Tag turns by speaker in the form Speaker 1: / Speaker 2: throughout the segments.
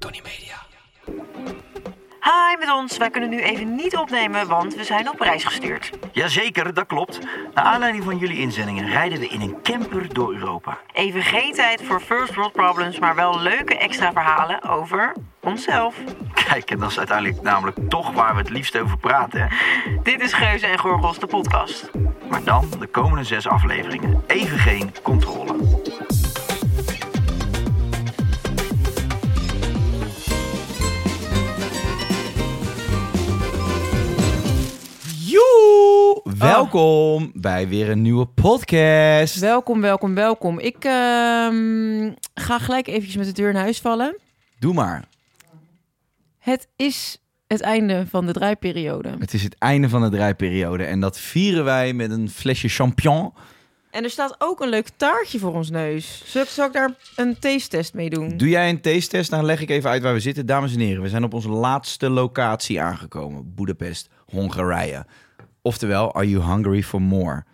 Speaker 1: Tony Media.
Speaker 2: Hi met ons, wij kunnen nu even niet opnemen, want we zijn op reis gestuurd.
Speaker 1: Jazeker, dat klopt. Naar aanleiding van jullie inzendingen rijden we in een camper door Europa.
Speaker 2: Even geen tijd voor first world problems, maar wel leuke extra verhalen over onszelf.
Speaker 1: Kijk, en dat is uiteindelijk namelijk toch waar we het liefst over praten. Hè?
Speaker 2: Dit is Geuze en Gorgels, de podcast.
Speaker 1: Maar dan de komende zes afleveringen. Even geen controle.
Speaker 3: Joe!
Speaker 4: Oh.
Speaker 3: Welkom bij weer een nieuwe podcast.
Speaker 4: Welkom, welkom, welkom. Ik ehm, ga gelijk eventjes met de deur in huis vallen.
Speaker 3: Doe maar.
Speaker 4: Het is het einde van de draaiperiode.
Speaker 3: Het is het einde van de draaiperiode en dat vieren wij met een flesje champignon.
Speaker 4: En er staat ook een leuk taartje voor ons neus. Zal ik, zal ik daar een taste-test mee doen?
Speaker 3: Doe jij een taste-test? Dan leg ik even uit waar we zitten. Dames en heren, we zijn op onze laatste locatie aangekomen. Budapest, Hongarije. Oftewel, are you hungry for more?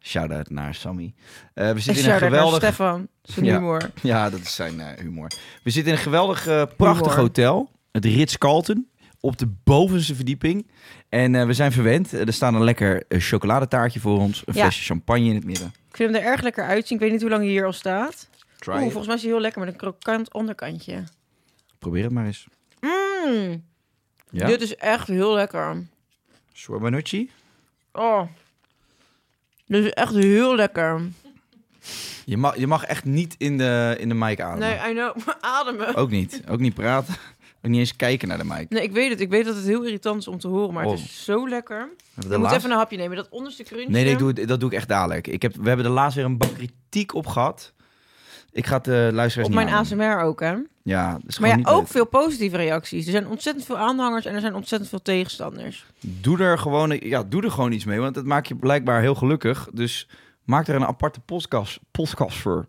Speaker 3: Shout-out naar Sammy. Eh, we
Speaker 4: en
Speaker 3: zitten in een
Speaker 4: shout-out naar
Speaker 3: geweldig...
Speaker 4: Stefan. Zijn
Speaker 3: Ja.
Speaker 4: humor.
Speaker 3: Ja, dat is zijn eh, humor. We zitten in een geweldig, eh, prachtig
Speaker 4: Humor.
Speaker 3: hotel. Het Ritz-Carlton. Op de bovenste verdieping. En eh, we zijn verwend. Eh, er staan een lekker eh, chocoladetaartje voor ons. Een
Speaker 4: Ja.
Speaker 3: flesje champagne in het midden.
Speaker 4: Ik vind hem er erg lekker uitzien. Ik weet niet hoe lang hij hier al staat.
Speaker 3: Try
Speaker 4: Oeh,
Speaker 3: it.
Speaker 4: volgens mij is hij heel lekker met een krokant onderkantje.
Speaker 3: Probeer het maar eens.
Speaker 4: Mm,
Speaker 3: Ja.
Speaker 4: Dit is echt heel lekker.
Speaker 3: Sorbanucci?
Speaker 4: Oh. Dit is echt heel lekker.
Speaker 3: Je mag, je mag echt niet in de, in de mic ademen.
Speaker 4: Nee, I know. Ademen.
Speaker 3: Ook niet. Ook niet praten. Ook niet eens kijken naar de mic.
Speaker 4: Nee, ik weet het. Ik weet dat het heel irritant is om te horen, maar het
Speaker 3: Oh.
Speaker 4: is zo lekker.
Speaker 3: De
Speaker 4: Je moet
Speaker 3: laatste-
Speaker 4: even een hapje nemen. Dat onderste crunchje.
Speaker 3: Nee, nee ik doe, het- dat doe ik echt dadelijk. Ik heb, we hebben er laatst weer een bak kritiek op gehad. Ik ga het de luisteraars
Speaker 4: Op
Speaker 3: niet
Speaker 4: mijn
Speaker 3: aandoen.
Speaker 4: ASMR ook, hè?
Speaker 3: Ja, dat is gewoon
Speaker 4: Maar ja,
Speaker 3: niet
Speaker 4: ook
Speaker 3: leuk.
Speaker 4: veel positieve reacties. Er zijn ontzettend veel aanhangers en er zijn ontzettend veel tegenstanders.
Speaker 3: Doe er gewoon, ja, doe er gewoon iets mee, want dat maakt je blijkbaar heel gelukkig. Dus maak er een aparte podcast, podcast voor.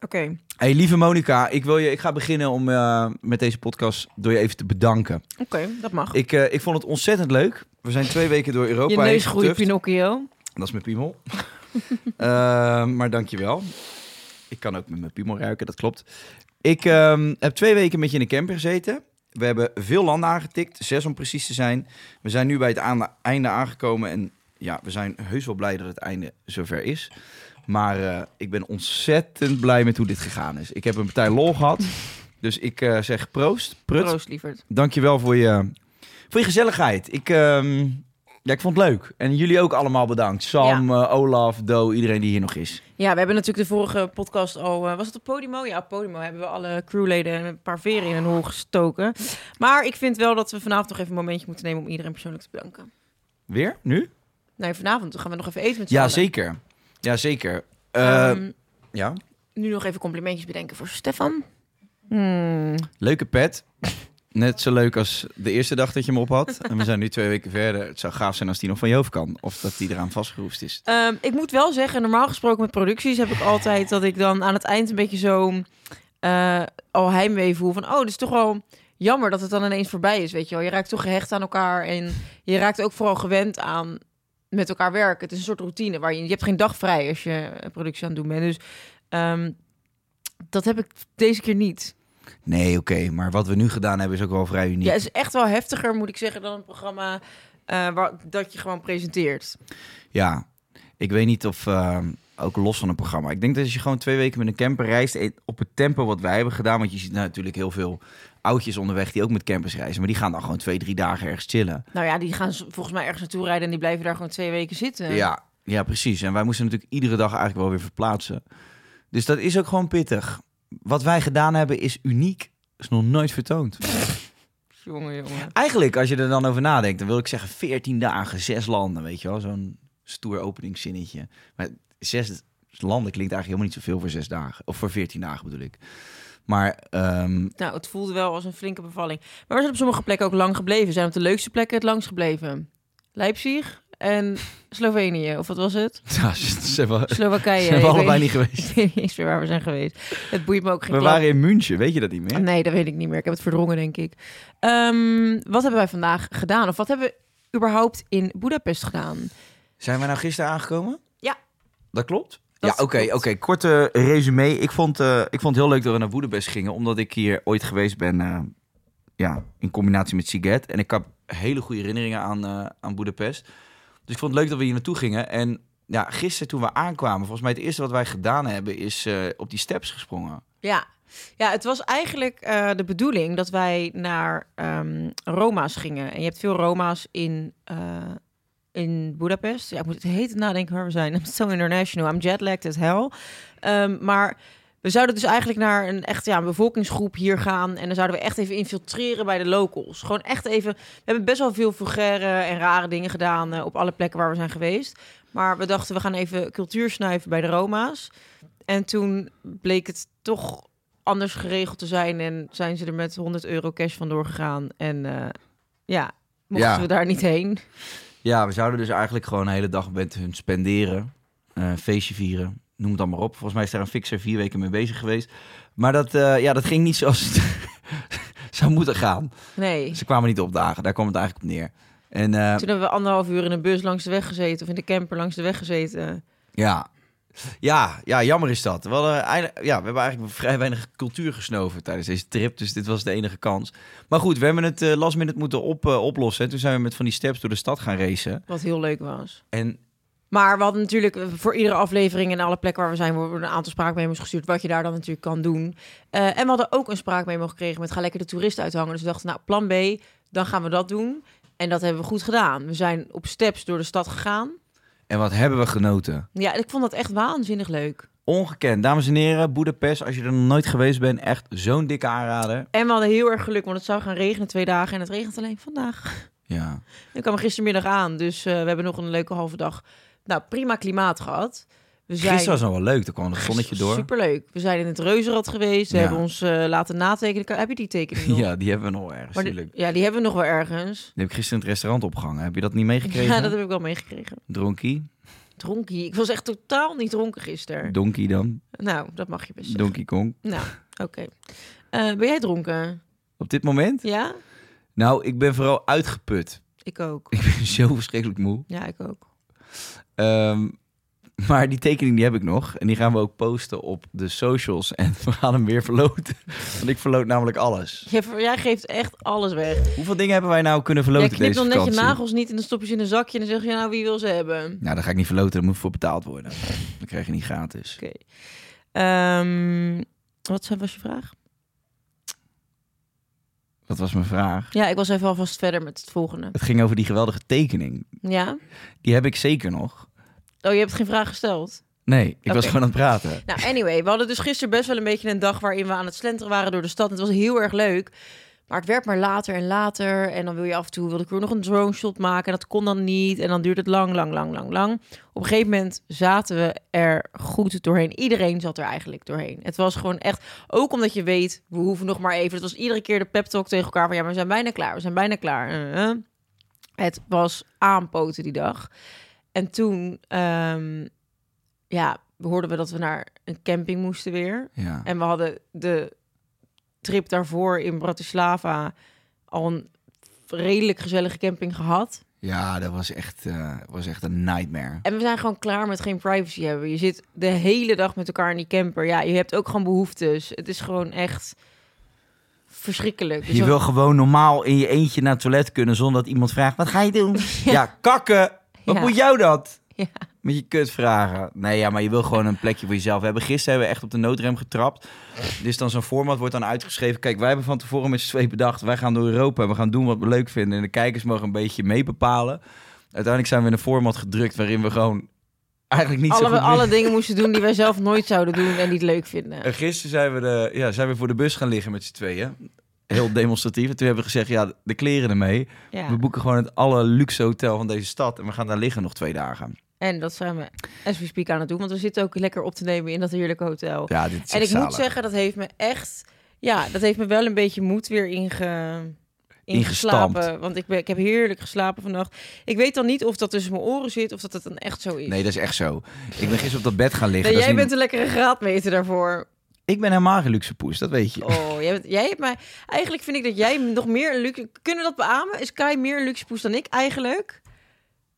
Speaker 4: Oké.
Speaker 3: Hey, lieve Monica, ik, wil je, ik ga beginnen om eh, met deze podcast door je even te bedanken.
Speaker 4: Oké, dat mag.
Speaker 3: Ik, eh, ik vond het ontzettend leuk. We zijn twee weken door Europa
Speaker 4: Je
Speaker 3: heen
Speaker 4: neus groeit,
Speaker 3: getuft.
Speaker 4: Pinocchio.
Speaker 3: Dat is mijn piemel. Eh, maar dankjewel. Ik kan ook met mijn piemel ruiken, dat klopt. Ik ehm, heb twee weken met je in de camper gezeten. We hebben veel landen aangetikt, zes om precies te zijn. We zijn nu bij het aan- einde aangekomen en ja, we zijn heus wel blij dat het einde zover is. Maar eh, ik ben ontzettend blij met hoe dit gegaan is. Ik heb een partij lol gehad, dus ik eh, zeg proost, prut.
Speaker 4: Proost, lieverd.
Speaker 3: Dankjewel voor je, voor je gezelligheid. Ik, ehm, ja, ik vond het leuk. En jullie ook allemaal bedankt. Sam, eh, Olaf, Do, iedereen die hier nog is.
Speaker 4: Ja, we hebben natuurlijk de vorige podcast al... eh, was het op Podimo? Ja, op Podimo hebben we alle crewleden en een paar veren in een hol gestoken. Maar ik vind wel dat we vanavond nog even een momentje moeten nemen om iedereen persoonlijk te bedanken.
Speaker 3: Weer? Nu?
Speaker 4: Nee, vanavond gaan we nog even eten met z'n
Speaker 3: Ja,
Speaker 4: allen.
Speaker 3: zeker. Ja, zeker. Eh,
Speaker 4: Ehm,
Speaker 3: ja.
Speaker 4: nu nog even complimentjes bedenken voor Stefan.
Speaker 3: Leuke pet. Net zo leuk als de eerste dag dat je hem op had. En we zijn nu twee weken verder. Het zou gaaf zijn als die nog van je hoofd kan. Of dat die eraan vastgeroest is.
Speaker 4: Ehm, ik moet wel zeggen, normaal gesproken met producties heb ik altijd dat ik dan aan het eind een beetje zo eh, al heimwee voel van, oh, dit is toch wel jammer dat het dan ineens voorbij is, weet je wel. Je raakt toch gehecht aan elkaar en je raakt ook vooral gewend aan met elkaar werken. Het is een soort routine waar je, je hebt geen dag vrij als je een productie aan het doen bent. Dus ehm, dat heb ik deze keer niet.
Speaker 3: Nee, oké. maar wat we nu gedaan hebben is ook wel vrij uniek.
Speaker 4: Ja, het is echt wel heftiger, moet ik zeggen, dan een programma eh, waar, dat je gewoon presenteert.
Speaker 3: Ja, ik weet niet of eh, ook los van een programma. Ik denk dat als je gewoon twee weken met een camper reist eh, op het tempo wat wij hebben gedaan, want je ziet nou, natuurlijk heel veel oudjes onderweg die ook met campers reizen, maar die gaan dan gewoon twee, drie dagen ergens chillen.
Speaker 4: Nou ja, die gaan z- volgens mij ergens naartoe rijden en die blijven daar gewoon twee weken zitten.
Speaker 3: Ja, ja, precies. En wij moesten natuurlijk iedere dag eigenlijk wel weer verplaatsen. Dus dat is ook gewoon pittig. Wat wij gedaan hebben is uniek. Is nog nooit vertoond.
Speaker 4: Jongen, jongen.
Speaker 3: Eigenlijk, als je er dan over nadenkt, dan wil ik zeggen 14 dagen, zes landen, weet je wel? Zo'n stoer openingszinnetje. Maar zes landen klinkt eigenlijk helemaal niet zoveel voor zes dagen. Of voor 14 dagen bedoel ik. Maar ehm,
Speaker 4: Nou, het voelde wel als een flinke bevalling. Maar we zijn op sommige plekken ook lang gebleven. We zijn op de leukste plekken het langst gebleven. Leipzig, en Slovenië. Of wat was het?
Speaker 3: Ja, ze ze hebben, ze
Speaker 4: Slowakije.
Speaker 3: hebben
Speaker 4: Ik
Speaker 3: allebei
Speaker 4: weet-
Speaker 3: niet geweest.
Speaker 4: Ik weet niet eens meer waar we zijn geweest. Het boeit me ook geen
Speaker 3: We
Speaker 4: klap.
Speaker 3: waren in München, weet je dat niet meer?
Speaker 4: Nee, dat weet ik niet meer. Ik heb het verdrongen, denk ik. Ehm, wat hebben wij vandaag gedaan? Of wat hebben we überhaupt in Budapest gedaan?
Speaker 3: Zijn wij nou gisteren aangekomen?
Speaker 4: Ja.
Speaker 3: Dat klopt?
Speaker 4: Dat
Speaker 3: ja, oké.
Speaker 4: klopt.
Speaker 3: oké. Korte resume. Ik vond, eh, ik vond het heel leuk dat we naar Boedapest gingen, omdat ik hier ooit geweest ben eh, ja, in combinatie met Siget. En ik heb hele goede herinneringen aan, eh aan Boedapest. Dus ik vond het leuk dat we hier naartoe gingen. En ja, gisteren toen we aankwamen, volgens mij het eerste wat wij gedaan hebben, is eh, op die steps gesprongen.
Speaker 4: Ja, ja het was eigenlijk eh, de bedoeling dat wij naar ehm, Roma's gingen. En je hebt veel Roma's in, eh, in Budapest. Ja, ik moet het heet nadenken waar we zijn. I'm so international. I'm jetlagged as hell. Ehm, maar we zouden dus eigenlijk naar een echt ja, een bevolkingsgroep hier gaan. En dan zouden we echt even infiltreren bij de locals. Gewoon echt even. We hebben best wel veel vulgaire en rare dingen gedaan eh, op alle plekken waar we zijn geweest. Maar we dachten, we gaan even cultuur snuiven bij de Roma's. En toen bleek het toch anders geregeld te zijn. En zijn ze er met 100 euro cash vandoor gegaan. En eh, ja, mochten
Speaker 3: Ja.
Speaker 4: we daar niet heen.
Speaker 3: Ja, we zouden dus eigenlijk gewoon een hele dag met hun spenderen. eh, feestje vieren, noem het dan maar op. Volgens mij is daar een fixer vier weken mee bezig geweest. Maar dat, eh, ja, dat ging niet zoals het zou moeten gaan.
Speaker 4: Nee.
Speaker 3: Ze kwamen niet opdagen, daar kwam het eigenlijk op neer. En eh,
Speaker 4: Toen hebben we anderhalf uur in een bus langs de weg gezeten. Of in de camper langs de weg gezeten.
Speaker 3: ja. Ja, ja, jammer is dat. We, hadden eindelijk- ja, we hebben eigenlijk vrij weinig cultuur gesnoven tijdens deze trip. Dus dit was de enige kans. Maar goed, we hebben het eh, last minute moeten op, eh, oplossen. En toen zijn we met van die steps door de stad gaan racen.
Speaker 4: Wat heel leuk was.
Speaker 3: En
Speaker 4: Maar we hadden natuurlijk eh, voor iedere aflevering en alle plekken waar we zijn... worden een aantal spraakmemo's gestuurd. Wat je daar dan natuurlijk kan doen. Eh, en we hadden ook een spraakmemo gekregen met... ga lekker de toeristen uithangen. Dus we dachten, nou, plan B, dan gaan we dat doen. En dat hebben we goed gedaan. We zijn op steps door de stad gegaan.
Speaker 3: En wat hebben we genoten?
Speaker 4: Ja, ik vond dat echt waanzinnig leuk.
Speaker 3: Ongekend. Dames en heren, Boedapest, als je er nog nooit geweest bent, echt zo'n dikke aanrader.
Speaker 4: En we hadden heel erg geluk, want het zou gaan regenen twee dagen. En het regent alleen vandaag.
Speaker 3: Ja.
Speaker 4: Ik kwam gistermiddag aan, dus eh, we hebben nog een leuke halve dag. Nou, prima klimaat gehad. We zijn
Speaker 3: Gisteren was nog wel leuk, er kwam het zonnetje door.
Speaker 4: Superleuk. We zijn in het Reuzenrad geweest. We
Speaker 3: Ja.
Speaker 4: hebben ons eh, laten natekenen. Kan- Heb je die tekening nog?
Speaker 3: Ja, die hebben we nog wel ergens.
Speaker 4: Maar die-
Speaker 3: natuurlijk.
Speaker 4: ja, die hebben we nog wel ergens.
Speaker 3: Die heb ik gisteren in het restaurant opgehangen. Heb je dat niet meegekregen?
Speaker 4: Ja, dat heb ik wel meegekregen.
Speaker 3: Dronkie?
Speaker 4: Dronkie. Ik was echt totaal niet dronken gisteren.
Speaker 3: Donkey dan?
Speaker 4: nou, dat mag je best zeggen.
Speaker 3: Donkey Kong?
Speaker 4: Nou, oké. Eh, ben jij dronken?
Speaker 3: Op dit moment?
Speaker 4: Ja?
Speaker 3: Nou, ik ben vooral uitgeput.
Speaker 4: Ik ook.
Speaker 3: Ik ben zo verschrikkelijk moe.
Speaker 4: Ja, ik ook.
Speaker 3: Ehm, maar die tekening die heb ik nog. En die gaan we ook posten op de socials. En we gaan hem weer verloten. Want ik verloot namelijk alles.
Speaker 4: Jij, ver- jij geeft echt alles weg.
Speaker 3: Hoeveel dingen hebben wij nou kunnen verloten
Speaker 4: Jij knipt
Speaker 3: deze
Speaker 4: dan net je
Speaker 3: vakantie?
Speaker 4: nagels niet en dan stop je ze in een zakje en dan zeg je nou wie wil ze hebben.
Speaker 3: Nou, daar ga ik niet verloten. Daar moet voor betaald worden. Dat krijg je niet gratis.
Speaker 4: Oké. Ehm, wat zijn- was je vraag?
Speaker 3: Dat was mijn vraag.
Speaker 4: Ja, ik was even alvast verder met het volgende.
Speaker 3: Het ging over die geweldige tekening.
Speaker 4: Ja?
Speaker 3: Die heb ik zeker nog.
Speaker 4: Oh, je hebt geen vraag gesteld.
Speaker 3: Nee, ik was
Speaker 4: Oké.
Speaker 3: gewoon aan het praten.
Speaker 4: Nou, anyway, we hadden dus gisteren best wel een beetje een dag waarin we aan het slenteren waren door de stad. Het was heel erg leuk. Maar het werd maar later en later. En dan wil je af en toe, wilde ik ook nog een drone shot maken. En dat kon dan niet. En dan duurde het lang, lang, lang, lang, lang. Op een gegeven moment zaten we er goed doorheen. Iedereen zat er eigenlijk doorheen. Het was gewoon echt, ook omdat je weet, we hoeven nog maar even. Het was iedere keer de pep talk tegen elkaar van, ja, maar we zijn bijna klaar. We zijn bijna klaar. Eh, eh. Het was aanpoten die dag. En toen, ehm, ja, hoorden we dat we naar een camping moesten weer.
Speaker 3: Ja.
Speaker 4: En we hadden de trip daarvoor in Bratislava al een redelijk gezellige camping gehad.
Speaker 3: ja, dat was echt, eh, was echt een nightmare.
Speaker 4: En we zijn gewoon klaar met geen privacy hebben. Je zit de hele dag met elkaar in die camper. Ja, je hebt ook gewoon behoeftes. Het is gewoon echt verschrikkelijk. Dus
Speaker 3: Je
Speaker 4: we-
Speaker 3: wil gewoon normaal in je eentje naar het toilet kunnen zonder dat iemand vraagt: wat ga je doen? Ja, kakken. Wat
Speaker 4: Ja.
Speaker 3: moet jou dat?
Speaker 4: Ja.
Speaker 3: Met je kutvragen. Nee, ja, maar je wil gewoon een plekje voor jezelf hebben. Gisteren hebben we echt op de noodrem getrapt. Dus dan zo'n format wordt dan uitgeschreven. Kijk, wij hebben van tevoren met z'n twee bedacht. Wij gaan door Europa en we gaan doen wat we leuk vinden. En de kijkers mogen een beetje meebepalen. Uiteindelijk zijn we in een format gedrukt waarin we gewoon eigenlijk niet zo
Speaker 4: alle,
Speaker 3: goed Eh,
Speaker 4: alle dingen moesten doen die wij zelf nooit zouden doen en niet leuk vinden.
Speaker 3: en gisteren zijn we, de, ja, zijn we voor de bus gaan liggen met z'n tweeën. Heel demonstratief. En toen hebben we gezegd, ja, de kleren ermee.
Speaker 4: Ja.
Speaker 3: We boeken gewoon het alle luxe hotel van deze stad. En we gaan daar liggen nog twee dagen.
Speaker 4: En dat zijn we as we speak aan het doen. Want we zitten ook lekker op te nemen in dat heerlijke hotel.
Speaker 3: Ja, dit is
Speaker 4: En
Speaker 3: echt
Speaker 4: ik moet
Speaker 3: zalig.
Speaker 4: zeggen, dat heeft me echt... Ja, dat heeft me wel een beetje moed weer inge... ingeslapen.
Speaker 3: Ingestampt.
Speaker 4: Want ik, ben, ik heb heerlijk geslapen vannacht. Ik weet dan niet of dat tussen mijn oren zit of dat het dan echt zo is.
Speaker 3: Nee, dat is echt zo. Ik ben gisteren op dat bed gaan liggen.
Speaker 4: Nee,
Speaker 3: dat is
Speaker 4: jij
Speaker 3: niet-
Speaker 4: bent een lekkere graadmeter daarvoor.
Speaker 3: Ik ben helemaal geen luxe poes, dat weet je.
Speaker 4: Oh, jij, bent, jij hebt mij... Eigenlijk vind ik dat jij nog meer een luxe... Kunnen we dat beamen? Is Kai meer een luxe poes dan ik eigenlijk?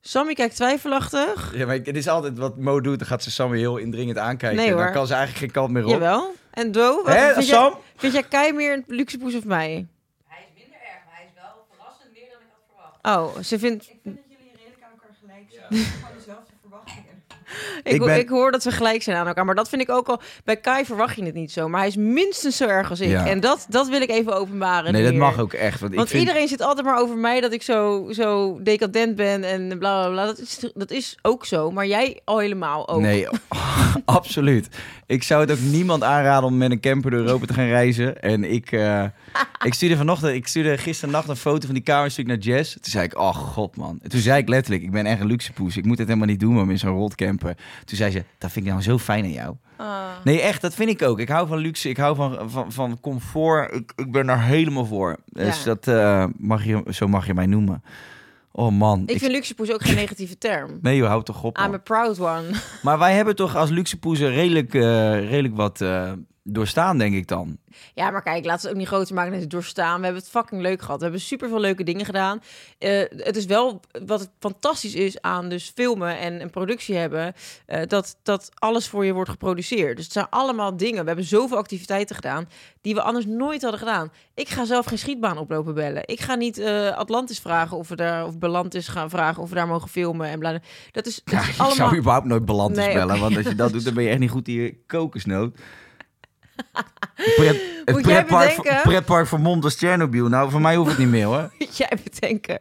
Speaker 4: Sammy kijkt twijfelachtig.
Speaker 3: Ja, maar het is altijd wat Mo doet. Dan gaat ze Sam weer heel indringend aankijken.
Speaker 4: Nee,
Speaker 3: en dan
Speaker 4: hoor.
Speaker 3: kan ze eigenlijk geen kant meer op.
Speaker 4: Jawel. En Do, wat-
Speaker 3: Hè,
Speaker 4: vind,
Speaker 3: Sam?
Speaker 4: jij, vind jij Kai meer een luxe poes of mij?
Speaker 5: Hij is minder erg, maar hij is wel verrassend meer dan ik had verwacht.
Speaker 4: Oh, ze vindt...
Speaker 5: Ik vind dat jullie redelijk aan elkaar gelijk zijn. Ik heb gewoon dezelfde verwachtingen.
Speaker 4: Ik,
Speaker 3: Ik
Speaker 4: ho-
Speaker 3: ben-
Speaker 4: ik hoor dat ze gelijk zijn aan elkaar. Maar dat vind ik ook al... Bij Kai verwacht je het niet zo. Maar hij is minstens zo erg als ik.
Speaker 3: Ja.
Speaker 4: En dat, dat wil ik even openbaren.
Speaker 3: Nee, dat
Speaker 4: hier.
Speaker 3: mag ook echt. Want,
Speaker 4: Want
Speaker 3: ik vind...
Speaker 4: iedereen zit altijd maar over mij dat ik zo, zo decadent ben en bla bla bla. Dat is, dat is ook zo, maar jij al helemaal ook.
Speaker 3: Nee, absoluut. Ik zou het ook niemand aanraden om met een camper door Europa te gaan reizen. En ik, eh, ik stuurde vanochtend, ik stuurde gisternacht een foto van die kamer stuk naar Jess. Toen zei ik, oh god man. En toen zei ik letterlijk, ik ben echt een luxe poes. Ik moet het helemaal niet doen om in zo'n rotcamper. Toen zei ze, dat vind ik nou zo fijn aan jou.
Speaker 4: Ah.
Speaker 3: Nee, echt, dat vind ik ook. Ik hou van luxe, ik hou van, van, van comfort. Ik, ik ben daar helemaal voor. Dus
Speaker 4: Ja.
Speaker 3: dat eh, mag je, zo mag je mij noemen. Oh man.
Speaker 4: Ik vind luxe poes ook geen negatieve term.
Speaker 3: Nee joh, houd toch op. man.
Speaker 4: I'm a proud one.
Speaker 3: Maar wij hebben toch als luxe poezen redelijk, eh, redelijk wat eh, doorstaan, denk ik dan.
Speaker 4: Ja, maar kijk, laten we het ook niet groter maken dan het doorstaan. We hebben het fucking leuk gehad. We hebben super veel leuke dingen gedaan. Eh, het is wel wat het fantastisch is aan dus filmen en een productie hebben, eh, dat, dat alles voor je wordt geproduceerd. Dus het zijn allemaal dingen. We hebben zoveel activiteiten gedaan die we anders nooit hadden gedaan. Ik ga zelf geen schietbaan oplopen bellen. Ik ga niet eh, Atlantis vragen of we daar of Belantis gaan vragen of we daar mogen filmen en bla. Dat is, dat
Speaker 3: Ja,
Speaker 4: is
Speaker 3: ik
Speaker 4: allemaal.
Speaker 3: zou überhaupt nooit beland
Speaker 4: Nee,
Speaker 3: bellen,
Speaker 4: oké.
Speaker 3: want als je dat doet, dan ben je echt niet goed in je kokosnoot. Het pret- Het
Speaker 4: Moet jij
Speaker 3: pretpark van-
Speaker 4: bedenken?
Speaker 3: pretpark van Mond was Tsjernobyl. Nou, voor mij hoeft het niet meer hoor.
Speaker 4: moet jij bedenken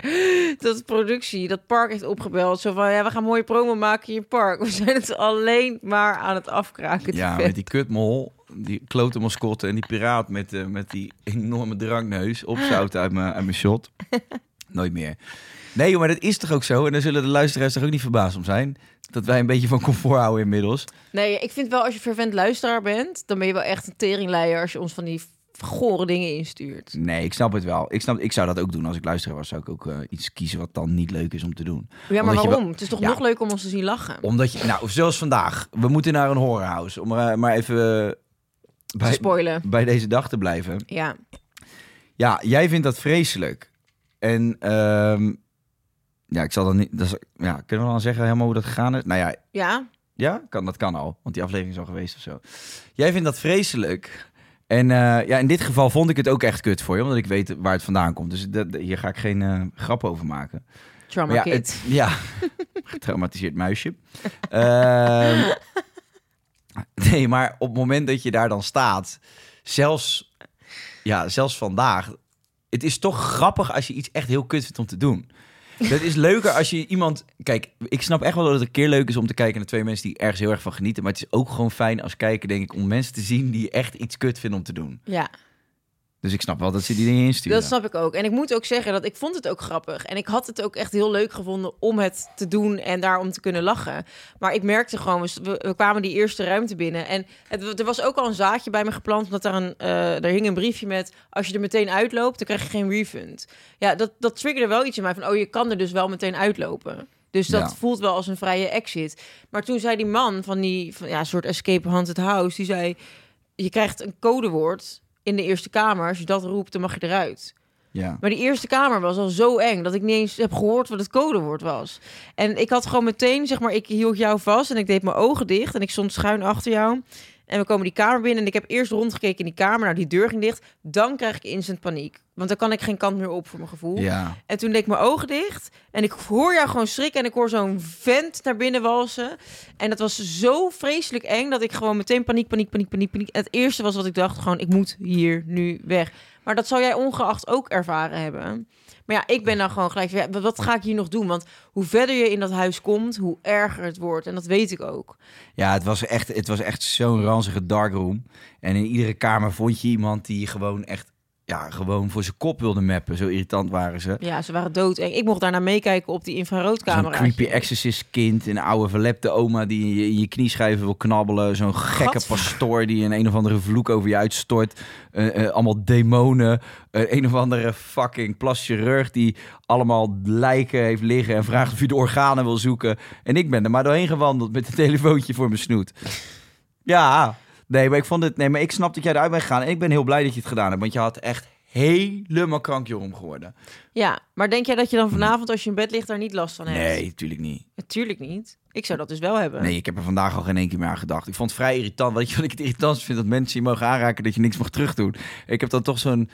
Speaker 4: dat de productie dat park heeft opgebeld. Zo van, ja, we gaan mooie promo maken in je park. We zijn het alleen maar aan het afkraken.
Speaker 3: Ja,
Speaker 4: die
Speaker 3: met die kutmol, die klote mascotte en die piraat met, eh, met die enorme drankneus opzouten uit mijn, uit mijn shot. Nooit meer. Nee, joh, maar dat is toch ook zo? En daar zullen de luisteraars toch ook niet verbaasd om zijn? Dat wij een beetje van comfort houden inmiddels.
Speaker 4: Nee, ik vind wel als je vervent luisteraar bent, dan ben je wel echt een teringleier als je ons van die gore dingen instuurt.
Speaker 3: Nee, ik snap het wel. Ik, snap, ik zou dat ook doen. Als ik luisteraar was, zou ik ook eh, iets kiezen wat dan niet leuk is om te doen.
Speaker 4: Ja, maar
Speaker 3: Omdat je
Speaker 4: waarom?
Speaker 3: wel-
Speaker 4: Het is toch
Speaker 3: Ja.
Speaker 4: nog leuk om ons te zien lachen.
Speaker 3: Omdat je, nou, zoals vandaag. We moeten naar een horrorhouse. Om maar, maar even eh,
Speaker 4: Te
Speaker 3: bij,
Speaker 4: spoilen.
Speaker 3: bij deze dag te blijven.
Speaker 4: Ja.
Speaker 3: Ja, jij vindt dat vreselijk. En ehm, ja, ik zal dan niet... Dat is- ja, kunnen we dan zeggen helemaal hoe dat gegaan is? Nou ja,
Speaker 4: Ja.
Speaker 3: ja kan, dat kan al. Want die aflevering is al geweest of zo. Jij vindt dat vreselijk. En eh, ja, in dit geval vond ik het ook echt kut voor je. Omdat ik weet waar het vandaan komt. Dus dat, hier ga ik geen eh, grap over maken.
Speaker 4: Trauma
Speaker 3: Maar
Speaker 4: kid.
Speaker 3: ja, het- ja, getraumatiseerd muisje. Ehm, nee, maar op het moment dat je daar dan staat, zelfs, ja, zelfs vandaag, het is toch grappig als je iets echt heel kut vindt om te doen. Dat is leuker als je iemand. Kijk, ik snap echt wel dat het een keer leuk is om te kijken naar twee mensen die ergens heel erg van genieten. Maar het is ook gewoon fijn als kijker, denk ik, om mensen te zien die echt iets kut vinden om te doen.
Speaker 4: Ja.
Speaker 3: Dus ik snap wel dat ze die dingen insturen.
Speaker 4: Dat snap ik ook. En ik moet ook zeggen dat ik vond het ook grappig. En ik had het ook echt heel leuk gevonden om het te doen en daarom te kunnen lachen. Maar ik merkte gewoon, we- we kwamen die eerste ruimte binnen. En het, er was ook al een zaadje bij me geplant, omdat daar, een, eh daar hing een briefje met... als je er meteen uitloopt, dan krijg je geen refund. Ja, dat, dat triggerde wel iets in mij van, oh, je kan er dus wel meteen uitlopen. Dus dat
Speaker 3: Ja.
Speaker 4: voelt wel als een vrije exit. Maar toen zei die man van die van, ja, soort escape haunted house, die zei... je krijgt een codewoord in de Eerste Kamer. Als je dat roept, dan mag je eruit.
Speaker 3: Ja.
Speaker 4: Maar die eerste kamer was al zo eng dat ik niet eens heb gehoord wat het codewoord was. En ik had gewoon meteen, zeg maar, ik hield jou vast en ik deed mijn ogen dicht en ik stond schuin achter jou. En we komen die kamer binnen en ik heb eerst rondgekeken in die kamer. Nou, die deur ging dicht. Dan krijg ik instant paniek. Want dan kan ik geen kant meer op voor mijn gevoel.
Speaker 3: Ja.
Speaker 4: En toen deed ik mijn ogen dicht. En ik hoor jou gewoon schrikken. En ik hoor zo'n vent naar binnen walsen. En dat was zo vreselijk eng dat ik gewoon meteen paniek, paniek, paniek, paniek, paniek. Het eerste was wat ik dacht, gewoon ik moet hier nu weg. Maar dat zou jij ongeacht ook ervaren hebben. Maar ja, ik ben dan gewoon gelijk, ja, wat ga ik hier nog doen? Want hoe verder je in dat huis komt, hoe erger het wordt. En dat weet ik ook.
Speaker 3: Ja, het was echt, het was echt zo'n ranzige darkroom. En in iedere kamer vond je iemand die gewoon echt ja, gewoon voor zijn kop wilden mappen. Zo irritant waren ze.
Speaker 4: Ja, ze waren dood. Ik mocht daarna meekijken op die
Speaker 3: Zo'n
Speaker 4: infraroodcamera.
Speaker 3: creepy exorcist kind, een oude verlepte oma die in je, in je knieschijven wil knabbelen, zo'n gekke
Speaker 4: Gadver.
Speaker 3: pastoor die een, een of andere vloek over je uitstort, Eh, eh, allemaal demonen, Eh, een of andere fucking plaschirurg die allemaal lijken heeft liggen en vraagt of je de organen wil zoeken. En ik ben er maar doorheen gewandeld met een telefoontje voor mijn snoet. Ja, nee, maar ik vond het, nee, maar ik snap dat jij eruit bent gegaan en ik ben heel blij dat je het gedaan hebt, want je had echt helemaal krankje om geworden.
Speaker 4: Ja, maar denk jij dat je dan vanavond als je in bed ligt daar niet last van hebt?
Speaker 3: Nee, natuurlijk niet.
Speaker 4: Natuurlijk niet. Ik zou dat dus wel hebben.
Speaker 3: Nee, ik heb er vandaag al geen één keer meer aan gedacht. Ik vond het vrij irritant. Weet je wat ik het irritant vind? Dat mensen je mogen aanraken dat je niks mag terugdoen. Ik heb dan toch zo'n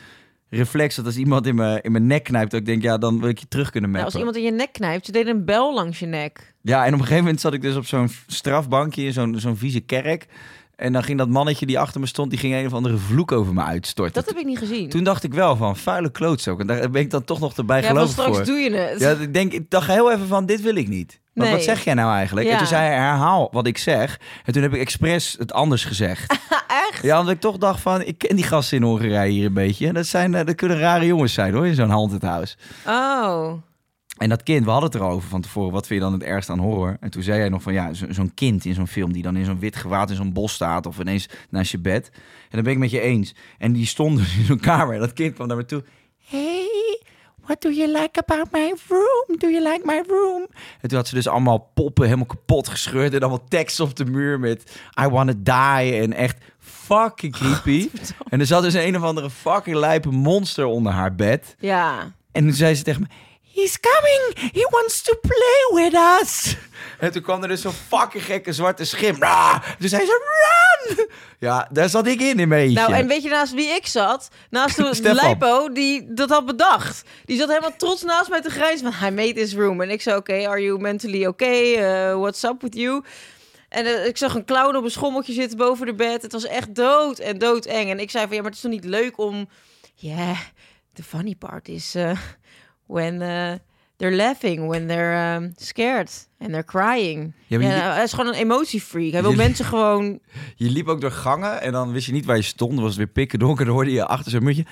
Speaker 3: reflex dat als iemand in mijn, in mijn nek knijpt... dat ik denk, ja, dan wil ik je terug kunnen
Speaker 4: Nou,
Speaker 3: mappen.
Speaker 4: als iemand in je nek knijpt, ze deden een bel langs je nek.
Speaker 3: Ja, en op een gegeven moment zat ik dus op zo'n strafbankje in zo'n zo'n vieze kerk. En dan ging dat mannetje die achter me stond... die ging een of andere vloek over me uitstorten.
Speaker 4: Dat heb ik niet gezien.
Speaker 3: Toen dacht ik wel van, vuile klootzak. En daar ben ik dan toch nog erbij
Speaker 4: ja, van
Speaker 3: geloofd
Speaker 4: straks
Speaker 3: voor.
Speaker 4: doe je het.
Speaker 3: Ja, ik, denk, ik dacht heel even van, dit wil ik niet. Want
Speaker 4: Nee.
Speaker 3: wat zeg jij nou eigenlijk?
Speaker 4: Ja.
Speaker 3: En toen zei hij, herhaal wat ik zeg. En toen heb ik expres het anders gezegd.
Speaker 4: Echt?
Speaker 3: ja, omdat ik toch dacht van, ik ken die gasten in Hongarije hier een beetje. Dat, zijn, eh, dat kunnen rare jongens zijn hoor, in zo'n haunted house.
Speaker 4: Oh.
Speaker 3: En dat kind, we hadden het erover van tevoren. Wat vind je dan het ergste aan horror? En toen zei hij nog van, ja, zo- zo'n kind in zo'n film... die dan in zo'n wit gewaad in zo'n bos staat of ineens naast je bed. En dat ben ik met je eens. En die stond dus in zo'n kamer. En dat kind kwam naar me toe. Hey, what do you like about my room? Do you like my room? En toen had ze dus allemaal poppen helemaal kapot gescheurd... en allemaal tekst op de muur met I wanna die en echt... Fucking creepy. En er zat dus een of andere fucking lijpe monster onder haar bed.
Speaker 4: Ja.
Speaker 3: En toen zei ze tegen me... He's coming! He wants to play with us! En toen kwam er dus zo'n fucking gekke zwarte schim. Ra! Toen zei ze, run! Ja, daar zat ik in in mijn eentje.
Speaker 4: Nou, en weet je naast wie ik zat? Naast de
Speaker 3: Stefan.
Speaker 4: Lipo, die dat had bedacht. Die zat helemaal trots naast mij te grijzen van... I made this room. En ik zei, oké, are you mentally okay? Eh, what's up with you? En eh, ik zag een clown op een schommeltje zitten boven de bed. Het was echt dood en doodeng. En ik zei van, ja, maar het is toch niet leuk om... Ja, the funny part is... eh, when eh, they're laughing, when they're ehm, scared. And they're crying.
Speaker 3: Ja,
Speaker 4: Ja,
Speaker 3: maar je-
Speaker 4: nou, hij is gewoon een emotiefreak. Hij wil
Speaker 3: Jullie-
Speaker 4: mensen gewoon...
Speaker 3: Je liep ook door gangen en dan wist je niet waar je stond. Dan was het weer pikken donker. Dan hoorde je achter zo'n muurtje...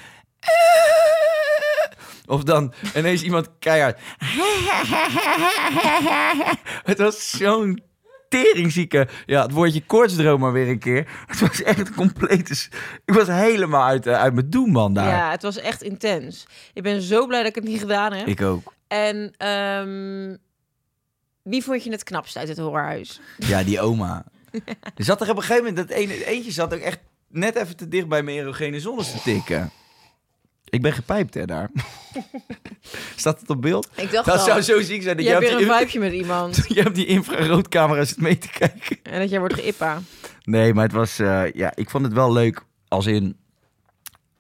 Speaker 3: Of dan ineens iemand keihard... Het was zo'n teringzieke... Ja, het woordje koortsdroom maar weer een keer. Het was echt compleet... Ik was helemaal uit, eh, uit mijn doen, man, daar.
Speaker 4: Ja, het was echt intens. Ik ben zo blij dat ik het niet gedaan heb.
Speaker 3: Ik ook.
Speaker 4: En ehm, wie vond je het knapst uit het horrorhuis?
Speaker 3: Ja, die oma. Er zat er op een gegeven moment, dat ene, eentje zat ook echt net even te dicht bij mijn erogene zones te tikken. Ik ben gepijpt, hè, daar. Staat het op beeld?
Speaker 4: Ik dacht
Speaker 3: dat
Speaker 4: al,
Speaker 3: zou zo ziek zijn. Dat
Speaker 4: Je hebt weer
Speaker 3: jij op
Speaker 4: een
Speaker 3: die
Speaker 4: vijfje met iemand.
Speaker 3: in- jij op die infraroodcamera zit mee te kijken.
Speaker 4: En dat jij wordt geïppa.
Speaker 3: Nee, maar het was, eh, ja, ik vond het wel leuk. Als in,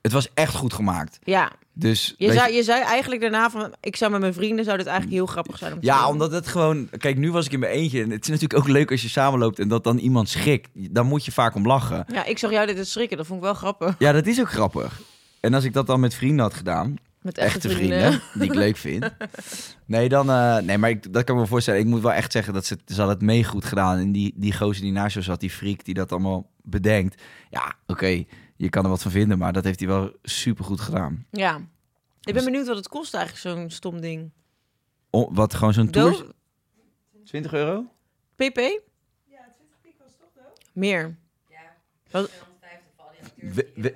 Speaker 3: het was echt goed gemaakt.
Speaker 4: Ja,
Speaker 3: Dus,
Speaker 4: je
Speaker 3: weet
Speaker 4: zei, je zei eigenlijk daarna van... Ik zou met mijn vrienden, zou dit eigenlijk heel grappig zijn om te
Speaker 3: Ja,
Speaker 4: doen.
Speaker 3: omdat het gewoon... Kijk, nu was ik in mijn eentje. En het is natuurlijk ook leuk als je samenloopt en dat dan iemand schrikt. Dan moet je vaak om lachen.
Speaker 4: Ja, ik zag jou dit eens schrikken. Dat vond ik wel grappig.
Speaker 3: Ja, dat is ook grappig. En als ik dat dan met vrienden had gedaan,
Speaker 4: Met
Speaker 3: echte, vrienden, die ik leuk vind. Nee, dan, eh, nee maar ik, dat kan ik me voorstellen. Ik moet wel echt zeggen dat ze, ze had het mee goed gedaan. En die, die gozer die naast jou zat, die freak die dat allemaal bedenkt. Ja, oké, je kan er wat van vinden, maar dat heeft hij wel super goed gedaan.
Speaker 4: Ja. Ik ben benieuwd wat het kost eigenlijk, zo'n stom ding.
Speaker 3: O, wat gewoon zo'n tour?
Speaker 4: Doof?
Speaker 3: 20 euro?
Speaker 4: PP?
Speaker 5: Ja, 20 piek was toch dood?
Speaker 4: Meer.
Speaker 3: We- we-
Speaker 5: Hè, tegen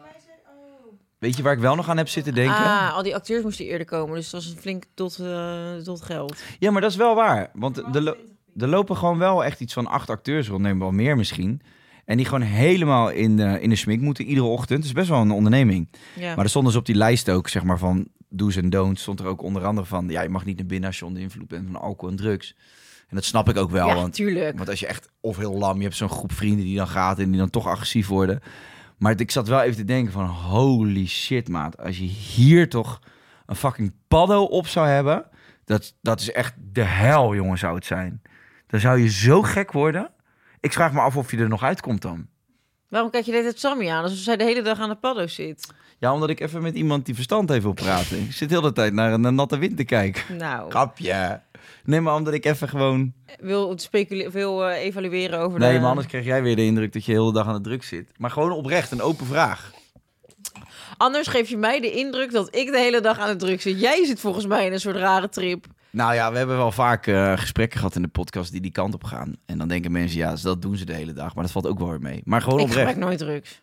Speaker 5: mij zei... Oh,
Speaker 3: weet je waar ik wel nog aan heb zitten denken?
Speaker 4: Ah, al die acteurs moesten eerder komen. Dus dat was een flink tot, eh, tot geld.
Speaker 3: Ja, maar dat is wel waar. Want de,
Speaker 5: maar
Speaker 3: lo-
Speaker 5: 20 piek.
Speaker 3: Er lopen gewoon wel echt iets van acht acteurs rond, neem wel meer misschien. En die gewoon helemaal in de, in de smik moeten iedere ochtend. Het is best wel een onderneming.
Speaker 4: Ja.
Speaker 3: Maar er stond dus op die lijst ook, zeg maar, van do's en don'ts. Stond er ook onder andere van, ja, je mag niet naar binnen als je onder invloed bent van alcohol en drugs. En dat snap ik ook wel,
Speaker 4: ja,
Speaker 3: want,
Speaker 4: tuurlijk.
Speaker 3: want als je echt of heel lam, je hebt zo'n groep vrienden die dan gaat en die dan toch agressief worden. Maar ik zat wel even te denken van, holy shit, maat. Als je hier toch een fucking paddo op zou hebben, dat, dat is echt de hel, jongen, zou het zijn. Dan zou je zo gek worden. Ik vraag me af of je er nog uitkomt dan.
Speaker 4: Waarom kijk je dit het Sammy aan? Alsof zij de hele dag aan de paddo zit.
Speaker 3: Ja, omdat ik even met iemand die verstand heeft wil praten. Ik zit heel de tijd naar een, een natte wind te kijken.
Speaker 4: Nou,
Speaker 3: Grapje. Nee, maar omdat ik even gewoon...
Speaker 4: wil, het specule- wil eh, evalueren over de...
Speaker 3: Nee, maar anders krijg jij weer de indruk dat je de hele dag aan de druk zit. Maar gewoon oprecht, een open vraag.
Speaker 4: Anders geef je mij de indruk dat ik de hele dag aan het druk zit. Jij zit volgens mij in een soort rare trip.
Speaker 3: Nou ja, we hebben wel vaak eh, gesprekken gehad in de podcast die die kant op gaan. En dan denken mensen, ja, dus dat doen ze de hele dag. Maar dat valt ook wel weer mee. Maar gewoon
Speaker 4: Ik
Speaker 3: oprecht.
Speaker 4: gebruik nooit drugs.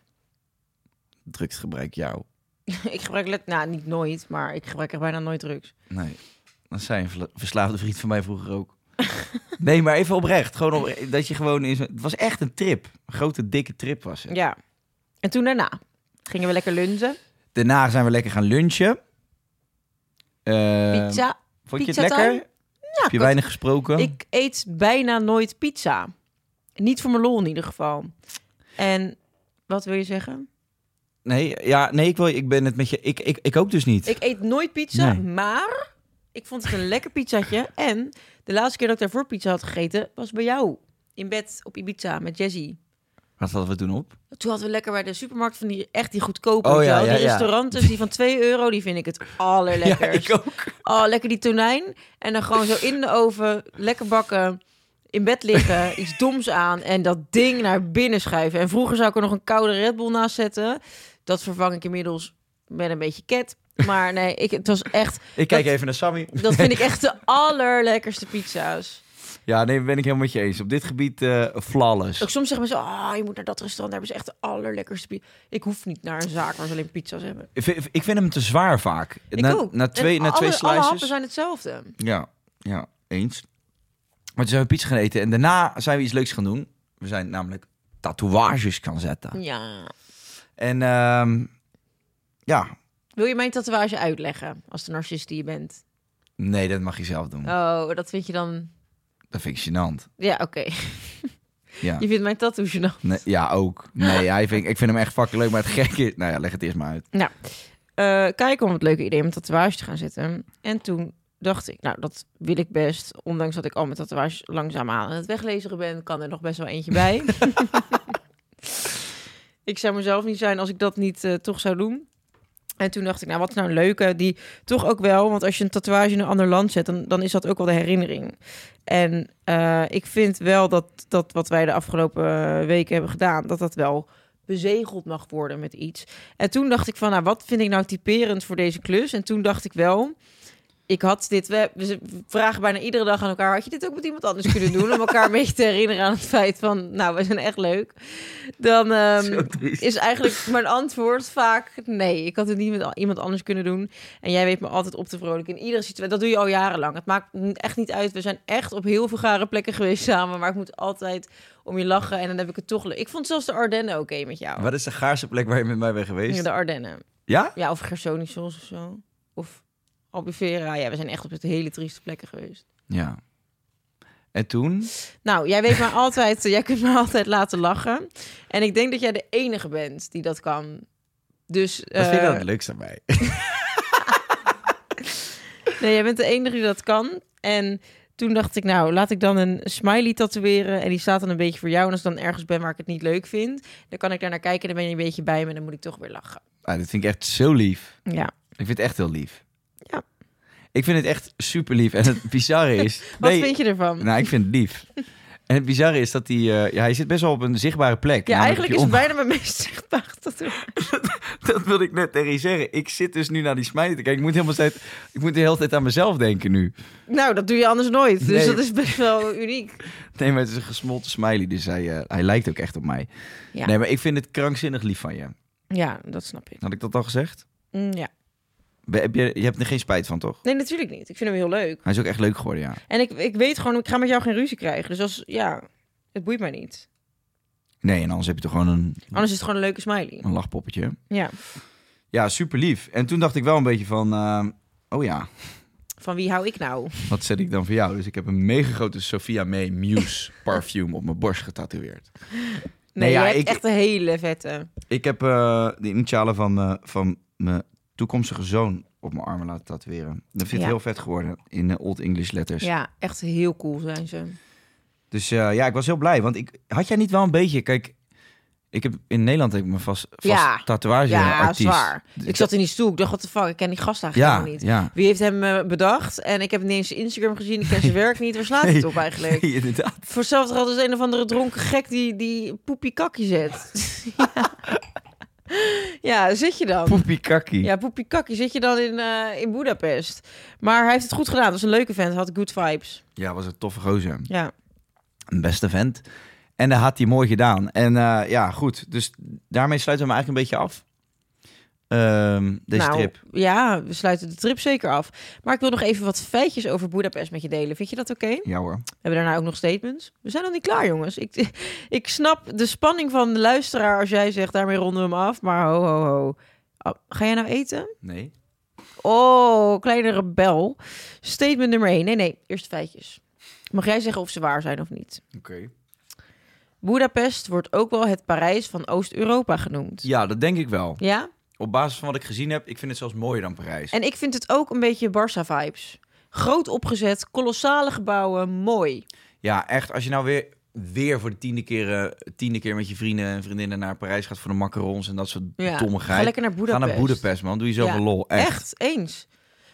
Speaker 3: Drugs gebruik jou.
Speaker 4: ik gebruik let, nou niet nooit, maar ik gebruik echt bijna nooit drugs.
Speaker 3: Nee. Dat zei een verla- verslaafde vriend van mij vroeger ook. nee, maar even oprecht. Gewoon op, dat je gewoon in zo'n- Het was echt een trip. Een grote, dikke trip was het.
Speaker 4: Ja. En toen daarna gingen we lekker lunchen.
Speaker 3: Daarna zijn we lekker gaan lunchen. Eh,
Speaker 4: Pizza.
Speaker 3: Vond je het
Speaker 4: Pizza
Speaker 3: lekker?
Speaker 4: time?
Speaker 3: Heb je
Speaker 4: ik-
Speaker 3: weinig gesproken?
Speaker 4: Ik eet bijna nooit pizza. Niet voor mijn lol in ieder geval. En wat wil je zeggen?
Speaker 3: Nee, ja, nee ik, wil, ik ben het met je... Ik, ik, ik ook dus niet.
Speaker 4: Ik eet nooit pizza,
Speaker 3: Nee.
Speaker 4: maar ik vond het een lekker pizzatje. En de laatste keer dat ik daarvoor pizza had gegeten, was bij jou. In bed op Ibiza met Jazzy.
Speaker 3: Wat hadden we toen op?
Speaker 4: Toen hadden we lekker bij de supermarkt van die echt die goedkope.
Speaker 3: Oh,
Speaker 4: weet je
Speaker 3: ja,
Speaker 4: wel.
Speaker 3: ja,
Speaker 4: die
Speaker 3: ja.
Speaker 4: restaurants, die van 2 euro, die vind ik het allerlekkerst.
Speaker 3: ook.
Speaker 4: Oh, lekker die tonijn. En dan gewoon zo in de oven, lekker bakken, in bed liggen, iets doms aan en dat ding naar binnen schuiven. En vroeger zou ik er nog een koude Red Bull naast zetten. Dat vervang ik inmiddels met een beetje ket. Maar nee, ik, het was echt,
Speaker 3: Ik kijk
Speaker 4: Dat-
Speaker 3: even naar Sammy.
Speaker 4: dat vind ik echt de allerlekkerste pizza's.
Speaker 3: Ja, nee, ben ik helemaal met je eens. Op dit gebied eh flawless.
Speaker 4: Ook soms zeggen mensen, oh, je moet naar dat restaurant, daar hebben ze echt de allerlekkerste pizza. Ik hoef niet naar een zaak waar ze alleen pizza's hebben.
Speaker 3: Ik vind, ik vind hem te zwaar vaak.
Speaker 4: Ik
Speaker 3: na,
Speaker 4: ook.
Speaker 3: na twee,
Speaker 4: En
Speaker 3: na
Speaker 4: alle,
Speaker 3: twee
Speaker 4: Alle
Speaker 3: slices.
Speaker 4: happen zijn hetzelfde.
Speaker 3: Ja, ja, eens. Maar toen zijn we pizza gaan eten. En daarna zijn we iets leuks gaan doen. We zijn namelijk tatoeages gaan zetten.
Speaker 4: Ja.
Speaker 3: En ehm, ja,
Speaker 4: Wil je mijn tatoeage uitleggen als de narcist die je bent?
Speaker 3: nee, dat mag je zelf doen.
Speaker 4: Oh, dat vind je dan...
Speaker 3: Dat vind ik gênant.
Speaker 4: Ja, oké.
Speaker 3: Ja,
Speaker 4: Je vindt mijn tattoo gênant.
Speaker 3: nee, ja ook. Nee, ja, ik, vind, ik vind hem echt fucking leuk. Maar het gekke is... Nou ja, leg het eerst maar uit.
Speaker 4: Nou, eh, kijken om het leuke idee om een tatoeage te gaan zetten. En toen dacht ik, nou, dat wil ik best. Ondanks dat ik al mijn tatoeage langzaam aan het weglezen ben, kan er nog best wel eentje bij. ik zou mezelf niet zijn als ik dat niet eh, toch zou doen. En toen dacht ik, nou, wat is nou een leuke? Die toch ook wel, want als je een tatoeage in een ander land zet, dan, dan is dat ook wel de herinnering. En eh, ik vind wel dat, dat wat wij de afgelopen eh, weken hebben gedaan, dat dat wel bezegeld mag worden met iets. En toen dacht ik van, nou, wat vind ik nou typerend voor deze klus? En toen dacht ik wel, ik had dit... We, we vragen bijna iedere dag aan elkaar, had je dit ook met iemand anders kunnen doen? Om elkaar een beetje te herinneren aan het feit van, nou, we zijn echt leuk. Dan ehm, is eigenlijk mijn antwoord vaak, nee, ik had het niet met al- iemand anders kunnen doen. En jij weet me altijd op te vrolijken in iedere situatie. Dat doe je al jarenlang. Het maakt n- echt niet uit. We zijn echt op heel veel gare plekken geweest samen. Maar ik moet altijd om je lachen. En dan heb ik het toch leuk. Ik vond zelfs de Ardennen oké met jou.
Speaker 3: Wat is de gaarste plek waar je met mij bent
Speaker 4: Ja,
Speaker 3: geweest?
Speaker 4: de Ardennen.
Speaker 3: Ja?
Speaker 4: Ja, of Gersonisos of zo. Of Albufeira. Ja, we zijn echt op het hele trieste plekken geweest.
Speaker 3: Ja. En toen?
Speaker 4: Nou, jij weet me altijd, jij kunt me altijd laten lachen. En ik denk dat jij de enige bent die dat kan. Dus,
Speaker 3: Wat vind je
Speaker 4: eh,
Speaker 3: dan het leukste aan mij?
Speaker 4: Nee, jij bent de enige die dat kan. En toen dacht ik, nou, laat ik dan een smiley tatoeëren. En die staat dan een beetje voor jou. En als ik dan ergens ben waar ik het niet leuk vind, dan kan ik daar naar kijken. Dan ben je een beetje bij me en dan moet ik toch weer lachen.
Speaker 3: Ah, dat vind ik echt zo lief.
Speaker 4: Ja.
Speaker 3: Ik vind het echt heel lief.
Speaker 4: Ja.
Speaker 3: Ik vind het echt super lief. En het bizarre is.
Speaker 4: Wat
Speaker 3: Nee,
Speaker 4: vind je ervan?
Speaker 3: Nou, ik vind het lief. En het bizarre is dat hij. eh, ja, hij zit best wel op een zichtbare plek.
Speaker 4: ja,
Speaker 3: namelijk
Speaker 4: eigenlijk is het
Speaker 3: op je
Speaker 4: bijna mijn meest zichtbare tattoo.
Speaker 3: om- Dat wilde ik net tegen je zeggen. Ik zit dus nu naar die smijten te kijken. Ik moet, helemaal tijd, ik moet de hele tijd aan mezelf denken nu.
Speaker 4: Nou, dat doe je anders nooit. Dus
Speaker 3: Nee.
Speaker 4: dat is best wel uniek.
Speaker 3: Nee, maar het is een gesmolten smiley. Dus hij, eh, hij lijkt ook echt op mij.
Speaker 4: Ja.
Speaker 3: Nee, maar ik vind het krankzinnig lief van je.
Speaker 4: Ja, dat snap ik.
Speaker 3: Had ik dat al gezegd?
Speaker 4: Mm, Ja.
Speaker 3: We- Heb je, je hebt er geen spijt van, toch?
Speaker 4: Nee, natuurlijk niet. Ik vind hem heel leuk.
Speaker 3: Hij is ook echt leuk geworden, ja.
Speaker 4: En ik, ik weet gewoon, ik ga met jou geen ruzie krijgen. Dus als, ja, het boeit mij niet.
Speaker 3: Nee, en anders heb je toch gewoon een,
Speaker 4: Anders is het gewoon een leuke smiley.
Speaker 3: een lachpoppetje.
Speaker 4: Ja.
Speaker 3: Ja, super lief. En toen dacht ik wel een beetje van, eh, oh ja,
Speaker 4: Van wie hou ik nou?
Speaker 3: wat zet ik dan voor jou? Dus ik heb een mega grote Sophia May Muse parfume op mijn borst getatoeëerd.
Speaker 4: Nee,
Speaker 3: ja,
Speaker 4: jij hebt
Speaker 3: ik-
Speaker 4: echt een hele vette.
Speaker 3: Ik heb eh, de initialen van, eh, van mijn toekomstige zoon op mijn armen laten tatoeëren. Dat vind ik
Speaker 4: Ja.
Speaker 3: heel vet geworden in eh, Old English letters.
Speaker 4: Ja, echt heel cool zijn ze.
Speaker 3: Dus eh, ja, ik was heel blij. Want ik, had jij niet wel een beetje, kijk, ik heb, in Nederland heb ik me vast, vast
Speaker 4: Ja.
Speaker 3: tatoeage
Speaker 4: Ja,
Speaker 3: artiest.
Speaker 4: zwaar. Ik zat in die stoel. Ik dacht, wat de fuck, ik ken die gast eigenlijk
Speaker 3: ja,
Speaker 4: helemaal niet.
Speaker 3: ja.
Speaker 4: Wie heeft hem eh, bedacht? En ik heb niet eens zijn Instagram gezien. Ik ken zijn werk niet. Waar slaat het op eigenlijk?
Speaker 3: Nee, inderdaad.
Speaker 4: Voor hetzelfde geld is een of andere dronken gek die, die poepie kakje zet. ja. Ja, daar zit je dan.
Speaker 3: Poepie kakkie.
Speaker 4: Ja, poepie kakkie, zit je dan in, eh, in Budapest. Maar hij heeft het goed gedaan. Dat was een leuke vent, had good vibes.
Speaker 3: Ja, was een toffe gozer.
Speaker 4: Ja.
Speaker 3: Een beste vent. En dat had hij mooi gedaan. En eh, ja, goed. Dus daarmee sluiten we hem eigenlijk een beetje af. Ehm, deze
Speaker 4: nou,
Speaker 3: trip.
Speaker 4: Ja, we sluiten de trip zeker af. Maar ik wil nog even wat feitjes over Budapest met je delen. Vind je dat oké?
Speaker 3: Ja hoor.
Speaker 4: We hebben daarna ook nog statements. We zijn nog niet klaar, jongens. Ik, ik snap de spanning van de luisteraar als jij zegt, daarmee ronden we hem af. Maar ho, ho, ho. Ah, Ga jij nou eten?
Speaker 3: Nee.
Speaker 4: Oh, kleine rebel. Statement nummer 1. Nee, nee, eerst feitjes. Mag jij zeggen of ze waar zijn of niet?
Speaker 3: Oké.
Speaker 4: Boedapest wordt ook wel het Parijs van Oost-Europa genoemd.
Speaker 3: Ja, dat denk ik wel.
Speaker 4: Ja?
Speaker 3: Op basis van wat ik gezien heb, ik vind het zelfs mooier dan Parijs.
Speaker 4: En ik vind het ook een beetje Barça-vibes. Groot opgezet, kolossale gebouwen, mooi.
Speaker 3: Ja, echt. Als je nou weer, weer voor de tiende keer, eh, tiende keer met je vrienden en vriendinnen naar Parijs gaat voor de macarons en dat soort
Speaker 4: Ja.
Speaker 3: dommigheid.
Speaker 4: Ga lekker naar Boedapest.
Speaker 3: Ga naar Boedapest, man. Doe jezelf
Speaker 4: Ja,
Speaker 3: een lol. Echt.
Speaker 4: Echt. eens.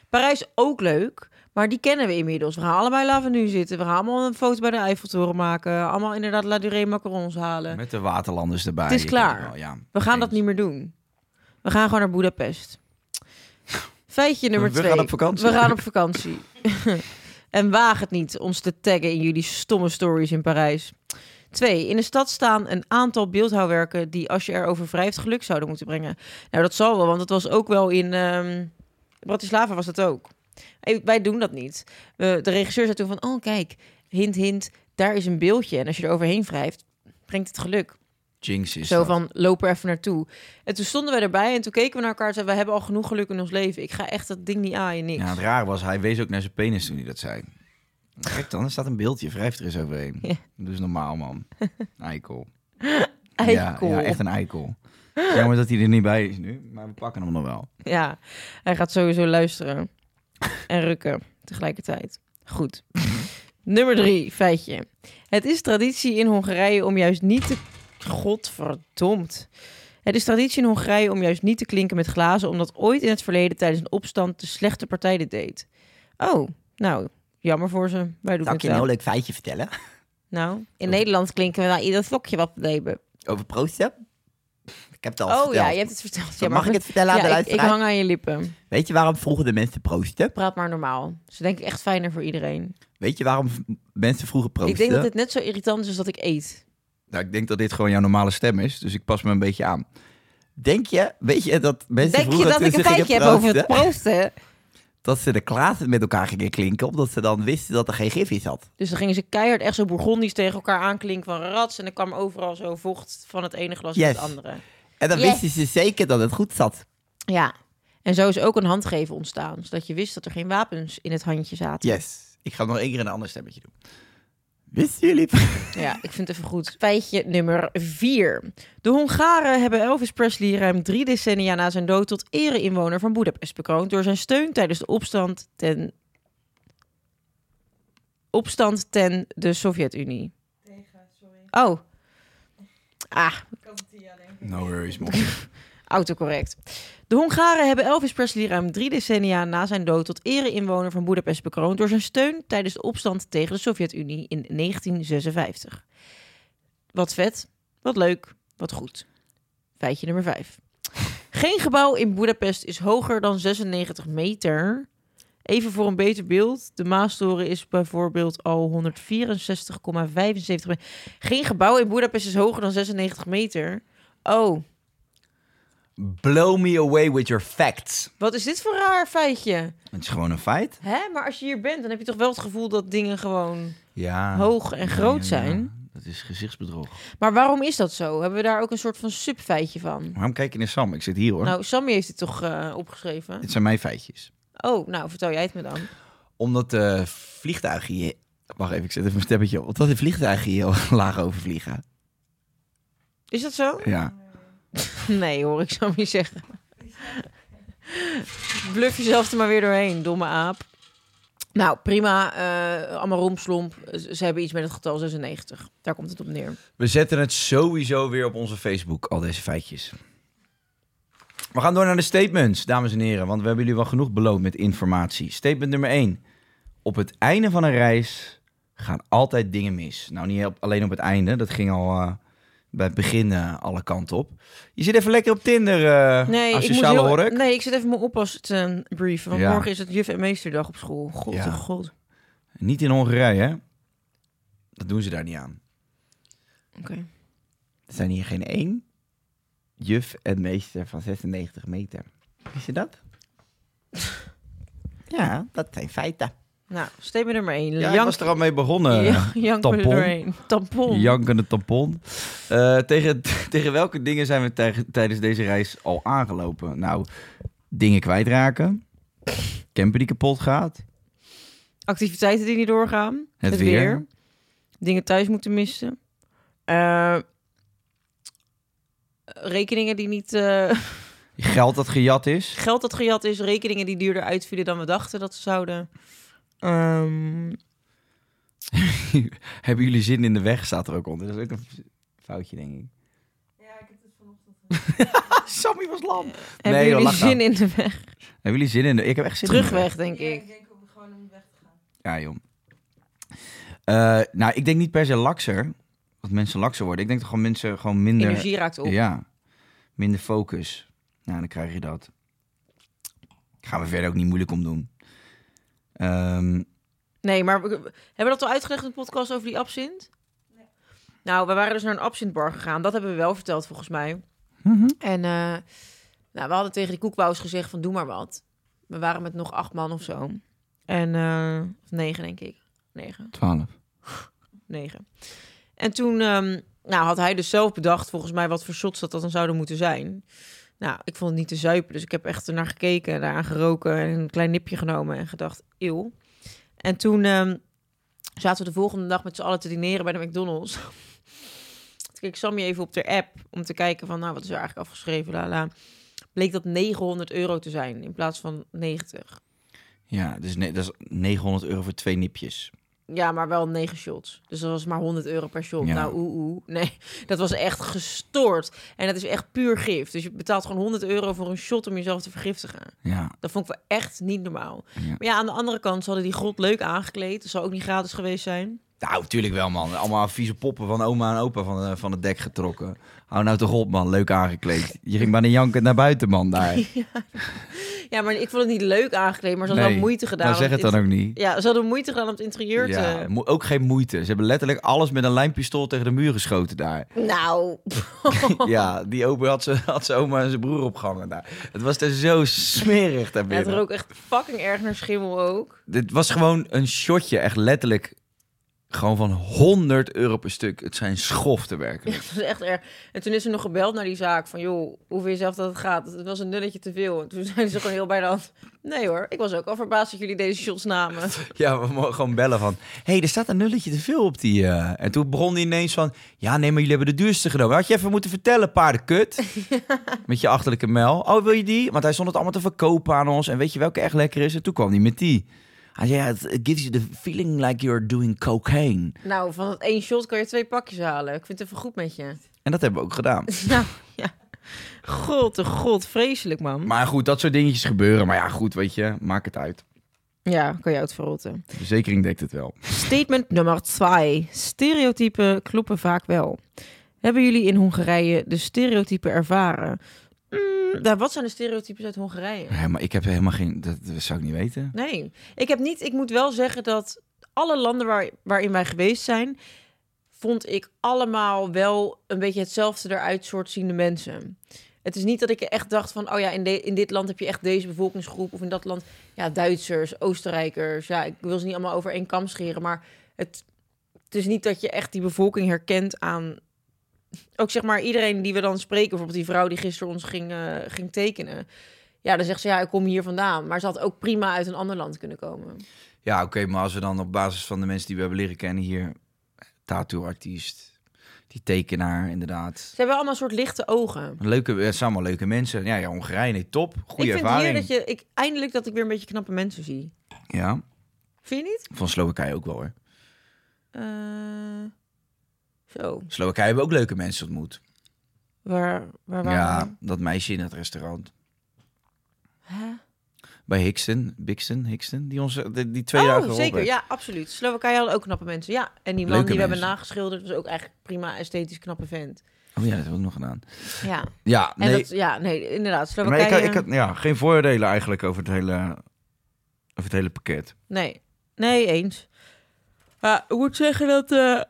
Speaker 4: Parijs ook leuk, maar die kennen we inmiddels. We gaan allebei Lavenue zitten. We gaan allemaal een foto bij de Eiffeltoren maken. Allemaal inderdaad La Durée macarons halen.
Speaker 3: Met de waterlanders erbij.
Speaker 4: Het is
Speaker 3: Je kent
Speaker 4: klaar.
Speaker 3: wel, ja.
Speaker 4: We gaan dat niet meer doen. We gaan gewoon naar Boedapest. Feitje nummer
Speaker 3: We
Speaker 4: twee.
Speaker 3: gaan op vakantie.
Speaker 4: We gaan op vakantie. en waag het niet ons te taggen in jullie stomme stories in Parijs. Twee, in de stad staan een aantal beeldhouwwerken die als je erover wrijft geluk zouden moeten brengen. Nou, dat zal wel, want dat was ook wel in ehm, Bratislava was dat ook. Hey, wij doen dat niet. We- de regisseur zei toen van, oh kijk, hint hint, daar is een beeldje. En als je er overheen wrijft, brengt het geluk.
Speaker 3: Jinx is
Speaker 4: Zo
Speaker 3: dat.
Speaker 4: van, loop er even naartoe. En toen stonden we erbij en toen keken we naar elkaar en zeiden... we hebben al genoeg geluk in ons leven. Ik ga echt dat ding niet aaien, niks.
Speaker 3: Ja, het raar was, hij wees ook naar zijn penis toen hij dat zei. Kijk dan, er staat een beeldje. Wrijf er eens overheen.
Speaker 4: Ja.
Speaker 3: Doe eens normaal, man. Eikel.
Speaker 4: Eikel.
Speaker 3: Ja,
Speaker 4: Ja,
Speaker 3: ja, echt een eikel. Jammer dat hij er niet bij is nu, maar we pakken hem nog wel.
Speaker 4: hij gaat sowieso luisteren. en rukken tegelijkertijd. Goed. Nummer drie, feitje. Het is traditie in Hongarije om juist niet te... Godverdomd. Het is traditie in Hongarije om juist niet te klinken met glazen... omdat ooit in het verleden tijdens een opstand de slechte partij dit deed. Oh, nou, jammer voor ze. Wij doen het wel.
Speaker 3: leuk feitje vertellen?
Speaker 4: Nou, in Nederland klinken we wel ieder vlokje wat we hebben.
Speaker 3: Over proosten? Ik heb het al
Speaker 4: Oh ja, je hebt het verteld. Ja, maar goed.
Speaker 3: vertellen
Speaker 4: ja, ik, ik hang aan je lippen.
Speaker 3: Weet je waarom vroeger de mensen proosten?
Speaker 4: Praat maar normaal. Ze denken echt fijner voor iedereen.
Speaker 3: Weet je waarom v- mensen vroeger proosten?
Speaker 4: Ik denk dat dit net zo irritant is als dat ik eet.
Speaker 3: Nou, ik denk dat dit gewoon jouw normale stem is, dus ik pas me een beetje aan. Denk je, weet je dat mensen
Speaker 4: Denk je
Speaker 3: vroeger
Speaker 4: dat
Speaker 3: toen
Speaker 4: ik een
Speaker 3: ze gingen
Speaker 4: feitje heb over het
Speaker 3: proosten,
Speaker 4: proosten?
Speaker 3: dat ze de klazen met elkaar gingen klinken, omdat ze dan wisten dat er geen gif in zat.
Speaker 4: Dus dan gingen ze keihard echt zo bourgondisch tegen elkaar aanklinken van rats. En dan kwam overal zo vocht van het ene glas op
Speaker 3: Yes.
Speaker 4: het andere.
Speaker 3: En dan
Speaker 4: Yes.
Speaker 3: wisten ze zeker dat het goed zat.
Speaker 4: Ja. En zo is ook een handgeven ontstaan. Zodat je wist dat er geen wapens in het handje zaten.
Speaker 3: Yes. Ik ga nog één keer een ander stemmetje doen. Wisten jullie?
Speaker 4: Ja, ik vind het even goed. Feitje nummer vier. De Hongaren hebben Elvis Presley ruim drie decennia na zijn dood tot ere-inwoner van Boedapest bekroond door zijn steun tijdens de opstand ten opstand ten de Sovjet-Unie.
Speaker 5: Tegen, sorry.
Speaker 4: Oh. Ah,
Speaker 5: Ik had het hier, ja, denk ik.
Speaker 3: No worries, man.
Speaker 4: Autocorrect. De Hongaren hebben Elvis Presley ruim drie decennia na zijn dood tot ere-inwoner van Boedapest bekroond door zijn steun tijdens de opstand tegen de Sovjet-Unie in 1956. Wat vet, wat leuk, wat goed. Feitje nummer 5. Geen gebouw in Boedapest is hoger dan 96 meter. Even voor een beter beeld. De Maastoren is bijvoorbeeld al 164,75 meter. Geen gebouw in Boedapest is hoger dan 96 meter. Oh,
Speaker 3: Blow me away with your facts.
Speaker 4: Wat is dit voor raar feitje?
Speaker 3: Het is gewoon een feit.
Speaker 4: Hè? Maar als je hier bent, dan heb je toch wel het gevoel dat dingen gewoon...
Speaker 3: Ja.
Speaker 4: Hoog en groot zijn.
Speaker 3: Dat is gezichtsbedrog.
Speaker 4: Maar waarom is dat zo? Hebben we daar ook een soort van subfeitje van?
Speaker 3: Waarom kijk je naar Sam? Ik zit hier hoor.
Speaker 4: Nou, Sammy heeft het toch eh, opgeschreven?
Speaker 3: Dit zijn mijn feitjes.
Speaker 4: Oh, nou, vertel jij het me dan.
Speaker 3: Omdat de vliegtuigen hier... Wacht even, ik zet even een stemmetje op. Omdat de vliegtuigen hier laag overvliegen.
Speaker 4: Is dat zo?
Speaker 3: Ja.
Speaker 4: Nee, hoor ik Sammy zeggen. Bluff jezelf er maar weer doorheen, domme aap. Nou, prima. eh allemaal rompslomp. Ze ze hebben iets met het getal 96. Daar komt het op neer.
Speaker 3: We zetten het sowieso weer op onze Facebook, al deze feitjes. We gaan door naar de statements, dames en heren. Want we hebben jullie wel genoeg beloond met informatie. Statement nummer 1. Op het einde van een reis gaan altijd dingen mis. Nou, niet op- alleen op het einde. Dat ging al eh, bij het begin eh, alle kanten op. Je zit even lekker op Tinder, eh
Speaker 4: Nee, ik, moet
Speaker 3: asociale
Speaker 4: heel,
Speaker 3: hork.
Speaker 4: nee, ik zit even mijn oppas te brieven. Want
Speaker 3: Ja.
Speaker 4: morgen is het juf- en meesterdag op school. God,
Speaker 3: Ja.
Speaker 4: oh god. Oké.
Speaker 3: Niet in Hongarije, hè? Dat doen ze daar niet aan. Er zijn hier geen één juf en meester van 96 meter. Wist je dat? Ja, dat zijn feiten.
Speaker 4: Nou, steek me er maar één.
Speaker 3: Ja, ik
Speaker 4: Jank-
Speaker 3: was eh, er al mee begonnen.
Speaker 4: Ja, jank me er
Speaker 3: tampon.
Speaker 4: doorheen. Tampon.
Speaker 3: Jankende tampon. Eh, tegen, tegen welke dingen zijn we tij- tijdens deze reis al aangelopen? Nou, dingen kwijtraken. Camper die kapot gaat.
Speaker 4: Activiteiten die niet doorgaan.
Speaker 3: Het weer.
Speaker 4: Dingen thuis moeten missen. Eh, rekeningen die niet... eh,
Speaker 3: Geld dat gejat is.
Speaker 4: geld dat gejat is. Rekeningen die duurder uitvielen dan we dachten dat ze zouden. Ehm,
Speaker 3: Hebben jullie zin in de weg? Staat er ook onder. Dat is ook een foutje, denk ik.
Speaker 5: Ja, ik heb het vanochtend.
Speaker 3: Sammy was lam.
Speaker 4: hebben
Speaker 3: joh,
Speaker 4: jullie
Speaker 3: lach nou.
Speaker 4: zin in de weg?
Speaker 3: Hebben jullie zin in de... Ik heb echt zin in de
Speaker 4: Terugweg, denk
Speaker 5: Ja, ik
Speaker 4: ik.
Speaker 5: denk ook gewoon om weg te gaan.
Speaker 3: Ja, joh. Eh, nou, ik denk niet per se lakser. Dat mensen lakser worden. Ik denk dat gewoon mensen gewoon minder...
Speaker 4: Energie raakt op.
Speaker 3: Ja, minder focus. Nou, dan krijg je dat. Gaan we verder ook niet moeilijk om doen. Ehm,
Speaker 4: Nee, maar we- we- hebben we dat al uitgelegd in de podcast over die absint? Nou, we waren dus naar een absintbar gegaan. Dat hebben we wel verteld, volgens mij. En eh, nou, we hadden tegen die koekbouwers gezegd van doe maar wat. We waren met nog acht man of zo. En eh, of negen, denk ik. Negen,
Speaker 3: 12.
Speaker 4: negen. En toen ehm, nou, had hij dus zelf bedacht, volgens mij, wat voor shots dat, dat dan zouden moeten zijn. Nou, ik vond het niet te zuipen, dus ik heb echt ernaar gekeken, daaraan geroken en een klein nipje genomen en gedacht, eeuw. En toen ehm, zaten we de volgende dag met z'n allen te dineren bij de McDonald's. Toen keek ik Sammy even op de app om te kijken van, nou, wat is er eigenlijk afgeschreven, la la. Bleek dat 900 euro te zijn in plaats van 90.
Speaker 3: Ja, dus nee, dat is 900 euro voor twee nipjes.
Speaker 4: Ja, maar wel 9 shots. Dus dat was maar 100 euro per shot.
Speaker 3: Ja.
Speaker 4: Nou, oeh, oeh. Nee, dat was echt gestoord. En dat is echt puur gif. Dus je betaalt gewoon 100 euro voor een shot om jezelf te vergiftigen.
Speaker 3: Ja,
Speaker 4: Dat vond ik wel echt niet normaal.
Speaker 3: Ja.
Speaker 4: Maar ja, aan de andere kant, ze hadden die grot leuk aangekleed. Dat zou ook niet gratis geweest zijn.
Speaker 3: nou, tuurlijk wel, man. Allemaal vieze poppen van oma en opa van, eh, van het dek getrokken. Hou nou toch op, man. Leuk aangekleed. Je ging bijna jankend naar buiten, man, daar.
Speaker 4: Ja, maar ik vond het niet leuk aangekleed, maar ze hadden
Speaker 3: Nee,
Speaker 4: wel moeite gedaan.
Speaker 3: Nou,
Speaker 4: om
Speaker 3: zeg het dan ook niet.
Speaker 4: Ja, ze hadden moeite gedaan om het interieur
Speaker 3: Ja,
Speaker 4: te...
Speaker 3: mo- ook geen moeite. Ze hebben letterlijk alles met een lijmpistool tegen de muur geschoten daar.
Speaker 4: Nou,
Speaker 3: Ja, die opa had, ze, had zijn oma en zijn broer opgehangen daar. Het was er zo smerig daar
Speaker 4: het
Speaker 3: binnen.
Speaker 4: rook echt fucking erg naar schimmel ook.
Speaker 3: Dit was gewoon een shotje, echt letterlijk. Gewoon van 100 euro per stuk. Het zijn schoften werkelijk.
Speaker 4: Het was echt erg. En toen is er nog gebeld naar die zaak van, joh, hoe vind je zelf dat het gaat? Het was een nulletje te veel. En toen zijn ze gewoon heel bij de hand. Nee hoor, ik was ook al verbaasd dat jullie deze shots namen.
Speaker 3: Ja, we mogen gewoon bellen van... Hé, hey, er staat een nulletje te veel op die... eh." En toen begon hij ineens van... Ja, nee, maar jullie hebben de duurste genomen. Had je even moeten vertellen, paardenkut. Met je achterlijke mel. Oh, wil je die? Want hij stond het allemaal te verkopen aan ons. En weet je welke echt lekker is? En toen kwam hij met die. Hij zei, ja, it it gives you the feeling like you're doing cocaine.
Speaker 4: Nou, van dat één shot kan je twee pakjes halen. Ik vind het even goed met je.
Speaker 3: En dat hebben we ook gedaan.
Speaker 4: Nou, ja. God, de god, vreselijk man.
Speaker 3: Maar goed, dat soort dingetjes gebeuren. Maar ja, goed, weet je, maak het uit.
Speaker 4: Ja, kan je uit verrotten.
Speaker 3: De verzekering dekt het wel.
Speaker 4: Statement nummer 2. Stereotypen kloppen vaak wel. Hebben jullie in Hongarije de stereotypen ervaren? Mm, nou, wat zijn de stereotypes uit Hongarije?
Speaker 3: Ja, maar ik heb helemaal geen... Dat, dat zou ik niet weten.
Speaker 4: Nee, ik heb niet. Ik moet wel zeggen dat alle landen waar, waarin wij geweest zijn, vond ik allemaal wel een beetje hetzelfde eruit soort ziende mensen. Het is niet dat ik echt dacht van, oh ja, in, de- in dit land heb je echt deze bevolkingsgroep of in dat land, ja, Duitsers, Oostenrijkers. Ja, ik wil ze niet allemaal over één kam scheren, maar het, het is niet dat je echt die bevolking herkent aan. Ook zeg maar iedereen die we dan spreken, bijvoorbeeld die vrouw die gisteren ons ging, eh, ging tekenen. Ja, dan zegt ze ja, ik kom hier vandaan. Maar ze had ook prima uit een ander land kunnen komen.
Speaker 3: Ja, oké, maar als we dan op basis van de mensen die we hebben leren kennen hier... Tattoo-artiest, die tekenaar inderdaad.
Speaker 4: Ze hebben allemaal een soort lichte ogen.
Speaker 3: Leuke, het zijn allemaal leuke mensen. Ja, ja Hongarije, nee, top. Goede
Speaker 4: ik vind
Speaker 3: ervaring.
Speaker 4: hier dat je ik, eindelijk dat ik weer een beetje knappe mensen zie.
Speaker 3: Ja,
Speaker 4: Vind je niet?
Speaker 3: van Slowakije ook wel hoor.
Speaker 4: Eh, zo.
Speaker 3: Slowakije hebben ook leuke mensen ontmoet.
Speaker 4: Waar, waar waren we?
Speaker 3: Ja, dat meisje in het restaurant.
Speaker 4: Hè?
Speaker 3: Bij Hickson, Bixton, Hickson, die ons eh, die, die twee jaar
Speaker 4: Oh,
Speaker 3: geholpen
Speaker 4: zeker.
Speaker 3: heeft.
Speaker 4: Ja, absoluut. Slowakije hadden ook knappe mensen. Ja, en die man
Speaker 3: Leuke
Speaker 4: die we
Speaker 3: mensen.
Speaker 4: hebben nageschilderd was ook echt prima esthetisch knappe vent.
Speaker 3: Oh ja, dat heb ik ook nog gedaan.
Speaker 4: Ja,
Speaker 3: Ja,
Speaker 4: en
Speaker 3: nee.
Speaker 4: dat, ja nee, inderdaad.
Speaker 3: maar ik,
Speaker 4: Slowakije...
Speaker 3: had- ik had ja, geen voordelen eigenlijk over het hele, over het hele pakket.
Speaker 4: Nee, nee, eens. Ja, ik moet zeggen dat... eh,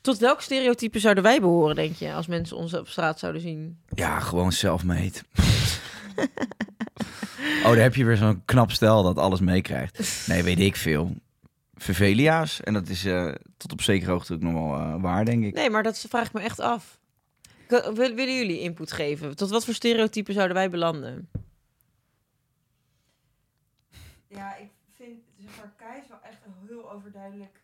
Speaker 4: Tot welk stereotype zouden wij behoren, denk je, als mensen ons op straat zouden zien?
Speaker 3: Ja, gewoon self-made. oh, daar heb je weer zo'n knap stel dat alles meekrijgt. Nee, weet ik veel. Vervelia's. En dat is eh, tot op zekere hoogte ook nog wel eh, waar, denk ik.
Speaker 4: Nee, maar dat vraag ik me echt af. K- wil- Willen jullie input geven? Tot wat voor stereotypen zouden wij belanden?
Speaker 5: Ja, ik vind, zeg maar, Kai is wel echt heel overduidelijk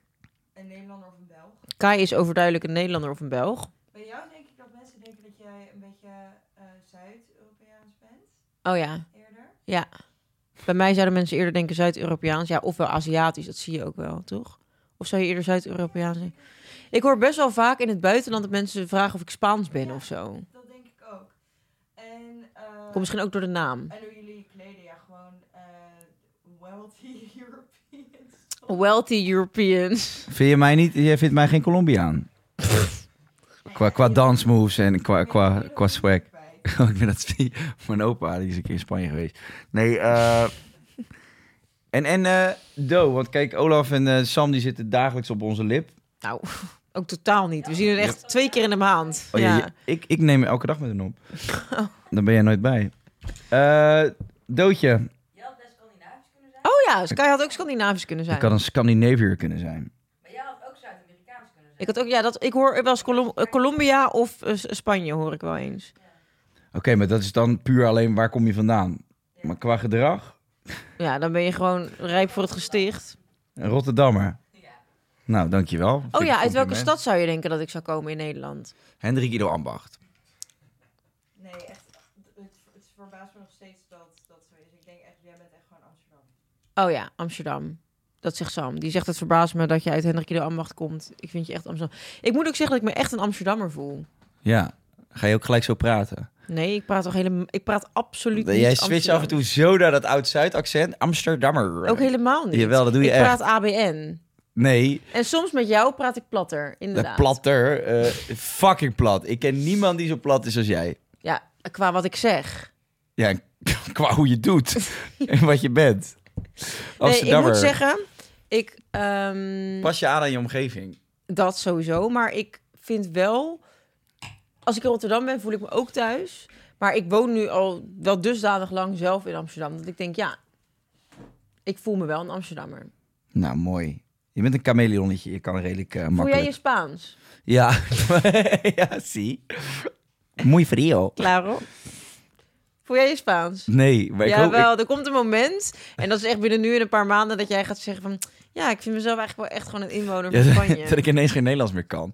Speaker 5: een Nederlander of een Belg.
Speaker 4: Kai is overduidelijk een Nederlander of een Belg.
Speaker 5: Bij jou denk ik dat mensen denken dat jij een beetje eh, Zuid-Europeaans bent,
Speaker 4: Oh ja,
Speaker 5: eerder.
Speaker 4: ja. Bij mij zouden mensen eerder denken Zuid-Europeaans. Ja, of wel Aziatisch, dat zie je ook wel, toch? Of zou je eerder Zuid-Europeaans zijn? Ik hoor best wel vaak in het buitenland dat mensen vragen of ik Spaans ben of zo.
Speaker 5: Dat denk ik ook. En, eh,
Speaker 4: Komt misschien ook door de naam.
Speaker 5: en hoe jullie je kleden, ja, gewoon eh wealthy Europeans.
Speaker 4: Wealthy Europeans.
Speaker 3: Vind je mij niet? Jij vindt mij geen Colombiaan. qua qua dansmoves en qua, qua, qua swag.
Speaker 5: Kwijt.
Speaker 3: Oh, ik ben dat spie- Mijn opa die is een keer in Spanje geweest. Nee, eh, en, en eh, Do, want kijk, Olaf en eh, Sam die zitten dagelijks op onze lip.
Speaker 4: Nou, ook totaal niet. We zien het echt twee keer in de maand.
Speaker 3: Oh, ja.
Speaker 4: ja. Oh.
Speaker 3: je- ik, ik neem elke dag met hen op. Dan ben jij nooit bij. Eh, Dootje,
Speaker 6: Jij had best Scandinavisch kunnen zijn,
Speaker 4: Oh ja, Sky had ook Scandinavisch kunnen
Speaker 3: ik
Speaker 4: zijn.
Speaker 3: had een Scandinaviër kunnen zijn.
Speaker 6: maar jij had ook Zuid-Amerikaans kunnen zijn.
Speaker 4: Ik had ook, ja, dat, ik hoor wel eens Colom- eh, Colombia of eh, S- Spanje hoor ik wel eens.
Speaker 3: Oké, maar dat is dan puur alleen waar kom je vandaan. Maar qua gedrag,
Speaker 4: Ja, dan ben je gewoon rijp voor het gesticht.
Speaker 3: een Rotterdammer. Nou, dankjewel. Vind
Speaker 4: Oh
Speaker 3: ik
Speaker 4: ja,
Speaker 3: een
Speaker 4: uit welke
Speaker 3: compliment.
Speaker 4: stad zou je denken dat ik zou komen in Nederland?
Speaker 3: Hendrik Ido Ambacht.
Speaker 5: Nee, echt, het, het verbaast me nog steeds dat dat zo is. Ik denk echt, jij bent echt gewoon Amsterdam.
Speaker 4: Oh ja, Amsterdam. Dat zegt Sam. Die zegt het verbaast me dat je uit Hendrik de Ambacht komt. Ik vind je echt Amsterdam. Ik moet ook zeggen dat ik me echt een Amsterdammer voel.
Speaker 3: Ja, ga je ook gelijk zo praten.
Speaker 4: Nee, ik praat toch helemaal... Ik praat absoluut niet
Speaker 3: Jij switcht af en
Speaker 4: Amsterdam.
Speaker 3: toe zo naar dat oud-Zuid accent. Amsterdammer.
Speaker 4: Ook helemaal niet.
Speaker 3: Jawel, dat doe je
Speaker 4: ik
Speaker 3: echt.
Speaker 4: praat ABN.
Speaker 3: Nee,
Speaker 4: En soms met jou praat ik platter,
Speaker 3: de
Speaker 4: inderdaad.
Speaker 3: platter. eh, fucking plat. Ik ken niemand die zo plat is als jij.
Speaker 4: Ja, qua wat ik zeg.
Speaker 3: Ja, en qua hoe je het doet en wat je bent.
Speaker 4: Nee, ik
Speaker 3: Amsterdammer.
Speaker 4: moet zeggen, ik... ehm,
Speaker 3: Pas je aan aan je omgeving.
Speaker 4: Dat sowieso. Maar ik vind wel. Als ik in Rotterdam ben, voel ik me ook thuis. Maar ik woon nu al wel dusdanig lang zelf in Amsterdam. Dat ik denk, ja, ik voel me wel een Amsterdammer.
Speaker 3: Nou, mooi. Je bent een chameleonnetje. Je kan redelijk eh,
Speaker 4: Voel jij
Speaker 3: makkelijk.
Speaker 4: je Spaans?
Speaker 3: Ja. ja, zie. Muy frio.
Speaker 4: Claro. Voel jij je Spaans?
Speaker 3: Nee, maar ik hoop... ik-
Speaker 4: Jawel, er komt een moment. En dat is echt binnen nu en een paar maanden dat jij gaat zeggen van... Ja, ik vind mezelf eigenlijk wel echt gewoon een inwoner van
Speaker 3: Ja,
Speaker 4: Spanje.
Speaker 3: dat ik ineens geen Nederlands meer kan.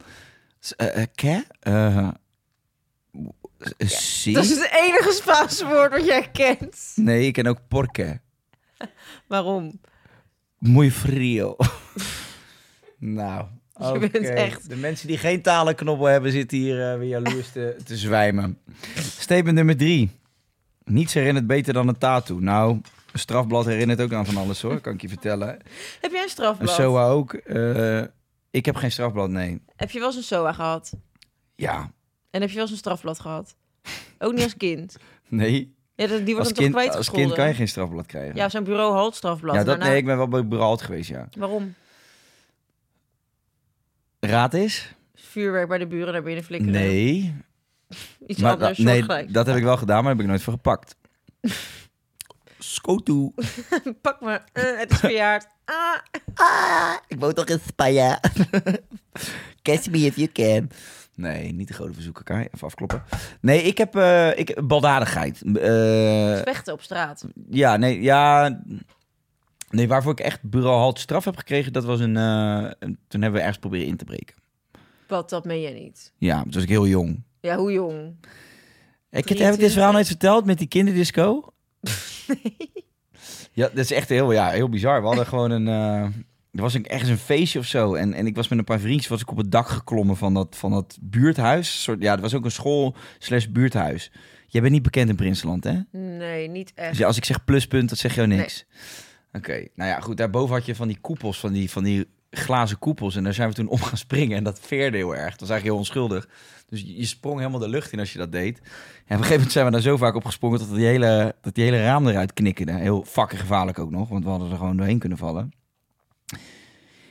Speaker 3: S- eh, eh, Ké? Eh, eh, zie?
Speaker 4: Dat is het enige Spaanse woord wat jij kent.
Speaker 3: Nee, ik ken ook porke.
Speaker 4: Waarom?
Speaker 3: Muy frio. nou,
Speaker 4: Je bent
Speaker 3: oké.
Speaker 4: echt-
Speaker 3: De mensen die geen talenknobbel hebben, zitten hier eh, weer jaloers te, te zwijmen. Statement nummer drie. Niets herinnert beter dan een tattoo. Nou, een strafblad herinnert ook aan van alles hoor, kan ik je vertellen.
Speaker 4: Heb jij een
Speaker 3: Een
Speaker 4: strafblad?
Speaker 3: SOA ook. Eh, ik heb geen strafblad, nee.
Speaker 4: Heb je wel eens een SOA gehad?
Speaker 3: Ja,
Speaker 4: En heb je wel eens een strafblad gehad? Ook niet als kind.
Speaker 3: nee.
Speaker 4: Ja, dat- die wordt
Speaker 3: Als
Speaker 4: dan
Speaker 3: kind,
Speaker 4: toch
Speaker 3: als kind
Speaker 4: kwijtgescholden.
Speaker 3: kan je geen strafblad krijgen.
Speaker 4: Ja, zo'n bureau haalt strafblad. Nou,
Speaker 3: Ja, dat,
Speaker 4: Daarna-
Speaker 3: nee, ik ben wel bij Braalt geweest, ja.
Speaker 4: Waarom? eh,
Speaker 3: Raad is?
Speaker 4: Vuurwerk bij de buren naar binnen flikkeren. eh,
Speaker 3: Nee.
Speaker 4: Iets
Speaker 3: Maar,
Speaker 4: anders,
Speaker 3: da- nee,
Speaker 4: soortgelijks.
Speaker 3: dat heb ik wel gedaan, maar daar heb ik nooit voor gepakt. Skotu.
Speaker 4: Pak me, eh, het is verjaard. Ah.
Speaker 3: Ik woon toch in Spanje? Catch me if you can. Nee, niet de grote verzoeken, kan je even afkloppen. Nee, ik heb eh ik, baldadigheid. Eh,
Speaker 4: Vechten op straat.
Speaker 3: ja, nee, ja... Nee, waarvoor ik echt bureau halt straf heb gekregen, dat was een, eh, een... Toen hebben we ergens proberen in te breken.
Speaker 4: Wat, dat meen jij niet.
Speaker 3: Ja, toen was ik heel jong.
Speaker 4: Ja, hoe jong?
Speaker 3: Ik heb, heb ik dit verhaal nooit verteld met die kinderdisco? Ja, dat is echt heel, ja, heel bizar. We hadden gewoon een... eh, er was een, ergens een feestje of zo. En, en ik was met een paar vriendjes was ik op het dak geklommen van dat, van dat buurthuis. Een Soort, ja, er was ook een school slash buurthuis. Jij bent niet bekend in Prinsland, hè?
Speaker 4: Nee, niet
Speaker 3: Dus
Speaker 4: echt.
Speaker 3: ja, als ik zeg pluspunt, dat zeg jou niks. Oké, nou ja, goed. Daarboven had je van die koepels, van die, van die glazen koepels. En daar zijn we toen om gaan springen. En dat veerde heel erg. Dat was eigenlijk heel onschuldig. Dus je je sprong helemaal de lucht in als je dat deed. En op een gegeven moment zijn we daar zo vaak op gesprongen... dat die hele, dat die hele raam eruit knikkerde. Heel fucking gevaarlijk ook nog. Want we hadden er gewoon doorheen kunnen vallen. Toen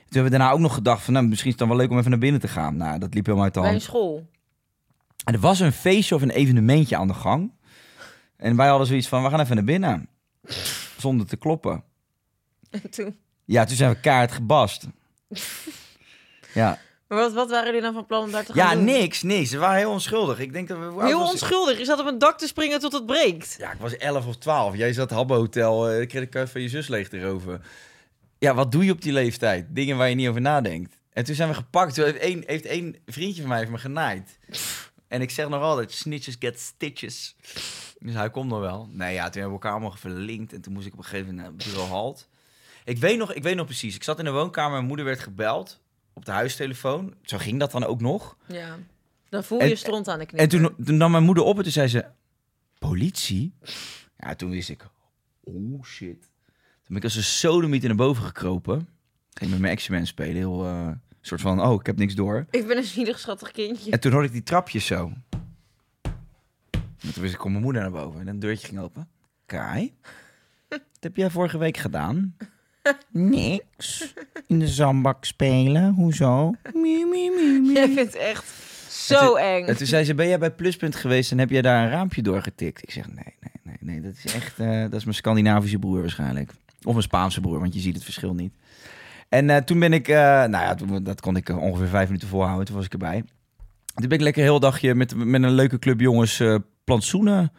Speaker 3: hebben we daarna ook nog gedacht van... Nou, misschien is het dan wel leuk om even naar binnen te gaan. Nou, dat liep helemaal uit de
Speaker 4: Bij een
Speaker 3: hand.
Speaker 4: school.
Speaker 3: En er was een feestje of een evenementje aan de gang. En wij hadden zoiets van, we gaan even naar binnen. Zonder te kloppen.
Speaker 4: En toen.
Speaker 3: Ja, toen zijn we kaart gebast. Ja,
Speaker 4: Maar wat, wat waren jullie dan van plan om daar te gaan
Speaker 3: ja
Speaker 4: doen?
Speaker 3: niks, niks. Ze waren heel onschuldig. Ik denk dat we... hoe oud
Speaker 4: Heel
Speaker 3: was ik?
Speaker 4: onschuldig. Je zat op een dak te springen tot het breekt.
Speaker 3: Ja, ik was 11 of 12. Jij zat Habbo Hotel. eh, Ik kreeg de kaart van je zus leeg erover. Ja, wat doe je op die leeftijd? Dingen waar je niet over nadenkt. En toen zijn we gepakt. Toen heeft één, heeft één vriendje van mij heeft me genaaid. En ik zeg nog altijd, snitches get stitches. Dus hij komt nog wel. Nee, ja, toen hebben we elkaar allemaal verlinkt. En toen moest ik op een gegeven moment naar bureau halt. Ik weet, nog, ik weet nog precies. Ik zat in de woonkamer. Mijn moeder werd gebeld op de huistelefoon. Zo ging dat dan ook nog.
Speaker 4: Ja. Dan voel
Speaker 3: En-
Speaker 4: je je stront aan de knie.
Speaker 3: En toen, toen nam mijn moeder op en toen zei ze: Politie? Ja, toen wist ik: Oh shit. Toen ben ik als een sodomiet naar boven gekropen. Ging met mijn X-Men spelen. Heel eh, soort van: Oh, ik heb niks door.
Speaker 4: Ik ben een zielig schattig kindje.
Speaker 3: En toen hoorde ik die trapjes zo. En toen wist ik: Kom mijn moeder naar boven. En een deurtje ging open. Kai, wat heb jij vorige week gedaan? Niks. In de zandbak spelen. Hoezo? Mie, mie, mie, mie.
Speaker 4: Jij vindt echt zo eng.
Speaker 3: En toen zei ze, ben jij bij Pluspunt geweest en heb jij daar een raampje doorgetikt? Ik zeg, nee, nee, nee, nee dat is echt, eh, dat is mijn Scandinavische broer waarschijnlijk. Of mijn Spaanse broer, want je ziet het verschil niet. En eh, toen ben ik, eh, nou ja, toen, dat kon ik eh, ongeveer vijf minuten volhouden, toen was ik erbij. Toen ben ik lekker heel dagje met, met een leuke club jongens eh, plantsoenen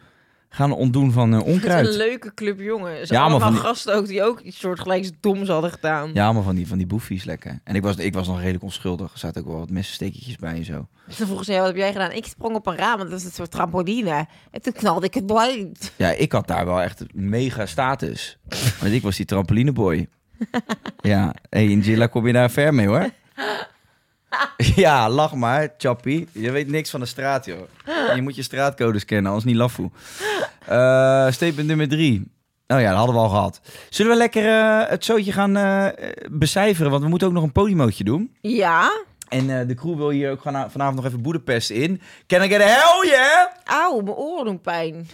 Speaker 3: gaan ontdoen van eh,
Speaker 4: Het is een
Speaker 3: onkruid.
Speaker 4: leuke club jongens.
Speaker 3: Ja, maar
Speaker 4: Allemaal
Speaker 3: van die-
Speaker 4: gasten ook die ook iets soortgelijks doms hadden gedaan.
Speaker 3: Ja, maar van die, van die boefjes lekker. En ik was, ik was nog redelijk onschuldig. Er zaten ook wel wat messenstekertjes bij en zo.
Speaker 4: Toen vroeg ze, ja, wat heb jij gedaan? Ik sprong op een raam, want dat is een soort trampoline. En toen knalde ik het blind.
Speaker 3: Ja, ik had daar wel echt mega status. Want ik was die trampolineboy. Ja, hey, Angela, kom je daar ver mee hoor? Ja, lach maar, chappie. Je weet niks van de straat, joh. En je moet je straatcodes kennen, anders niet laffoe. Eh statement nummer drie. Nou ja, dat hadden we al gehad. Zullen we lekker eh, het zootje gaan eh, becijferen? Want we moeten ook nog een podimootje doen.
Speaker 4: Ja?
Speaker 3: En eh, de crew wil hier ook gana- vanavond nog even Boedapest in. Can I get a hell yeah?
Speaker 4: Auw, mijn oren doen pijn.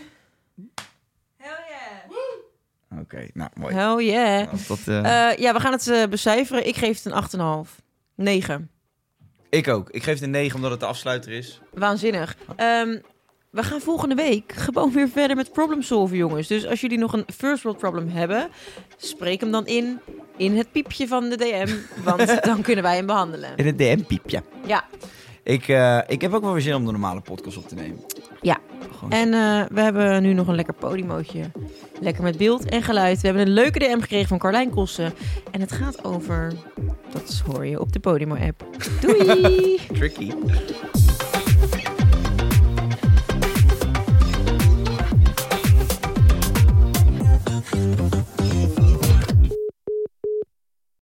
Speaker 5: Hell yeah!
Speaker 3: Oké, nou mooi.
Speaker 4: Hell yeah.
Speaker 3: Als dat, eh,
Speaker 4: Eh, ja, we gaan het eh, becijferen. Ik geef het een 8,5. 9.
Speaker 3: Ik ook. Ik geef het een 9 omdat het de afsluiter is.
Speaker 4: Waanzinnig. Ehm, we gaan volgende week gewoon weer verder met problem solven, jongens. Dus als jullie nog een first world problem hebben, spreek hem dan in in het piepje van de DM, want dan kunnen wij hem behandelen.
Speaker 3: In het DM-piepje.
Speaker 4: Ja.
Speaker 3: Ik, eh, ik heb ook wel weer zin om de normale podcast op te nemen.
Speaker 4: Ja.
Speaker 3: Gewoon.
Speaker 4: En eh, we hebben nu nog een lekker podimootje. Lekker met beeld en geluid. We hebben een leuke DM gekregen van Carlijn Kossen. En het gaat over... Dat hoor je op de Podimo-app. Doei!
Speaker 3: Tricky.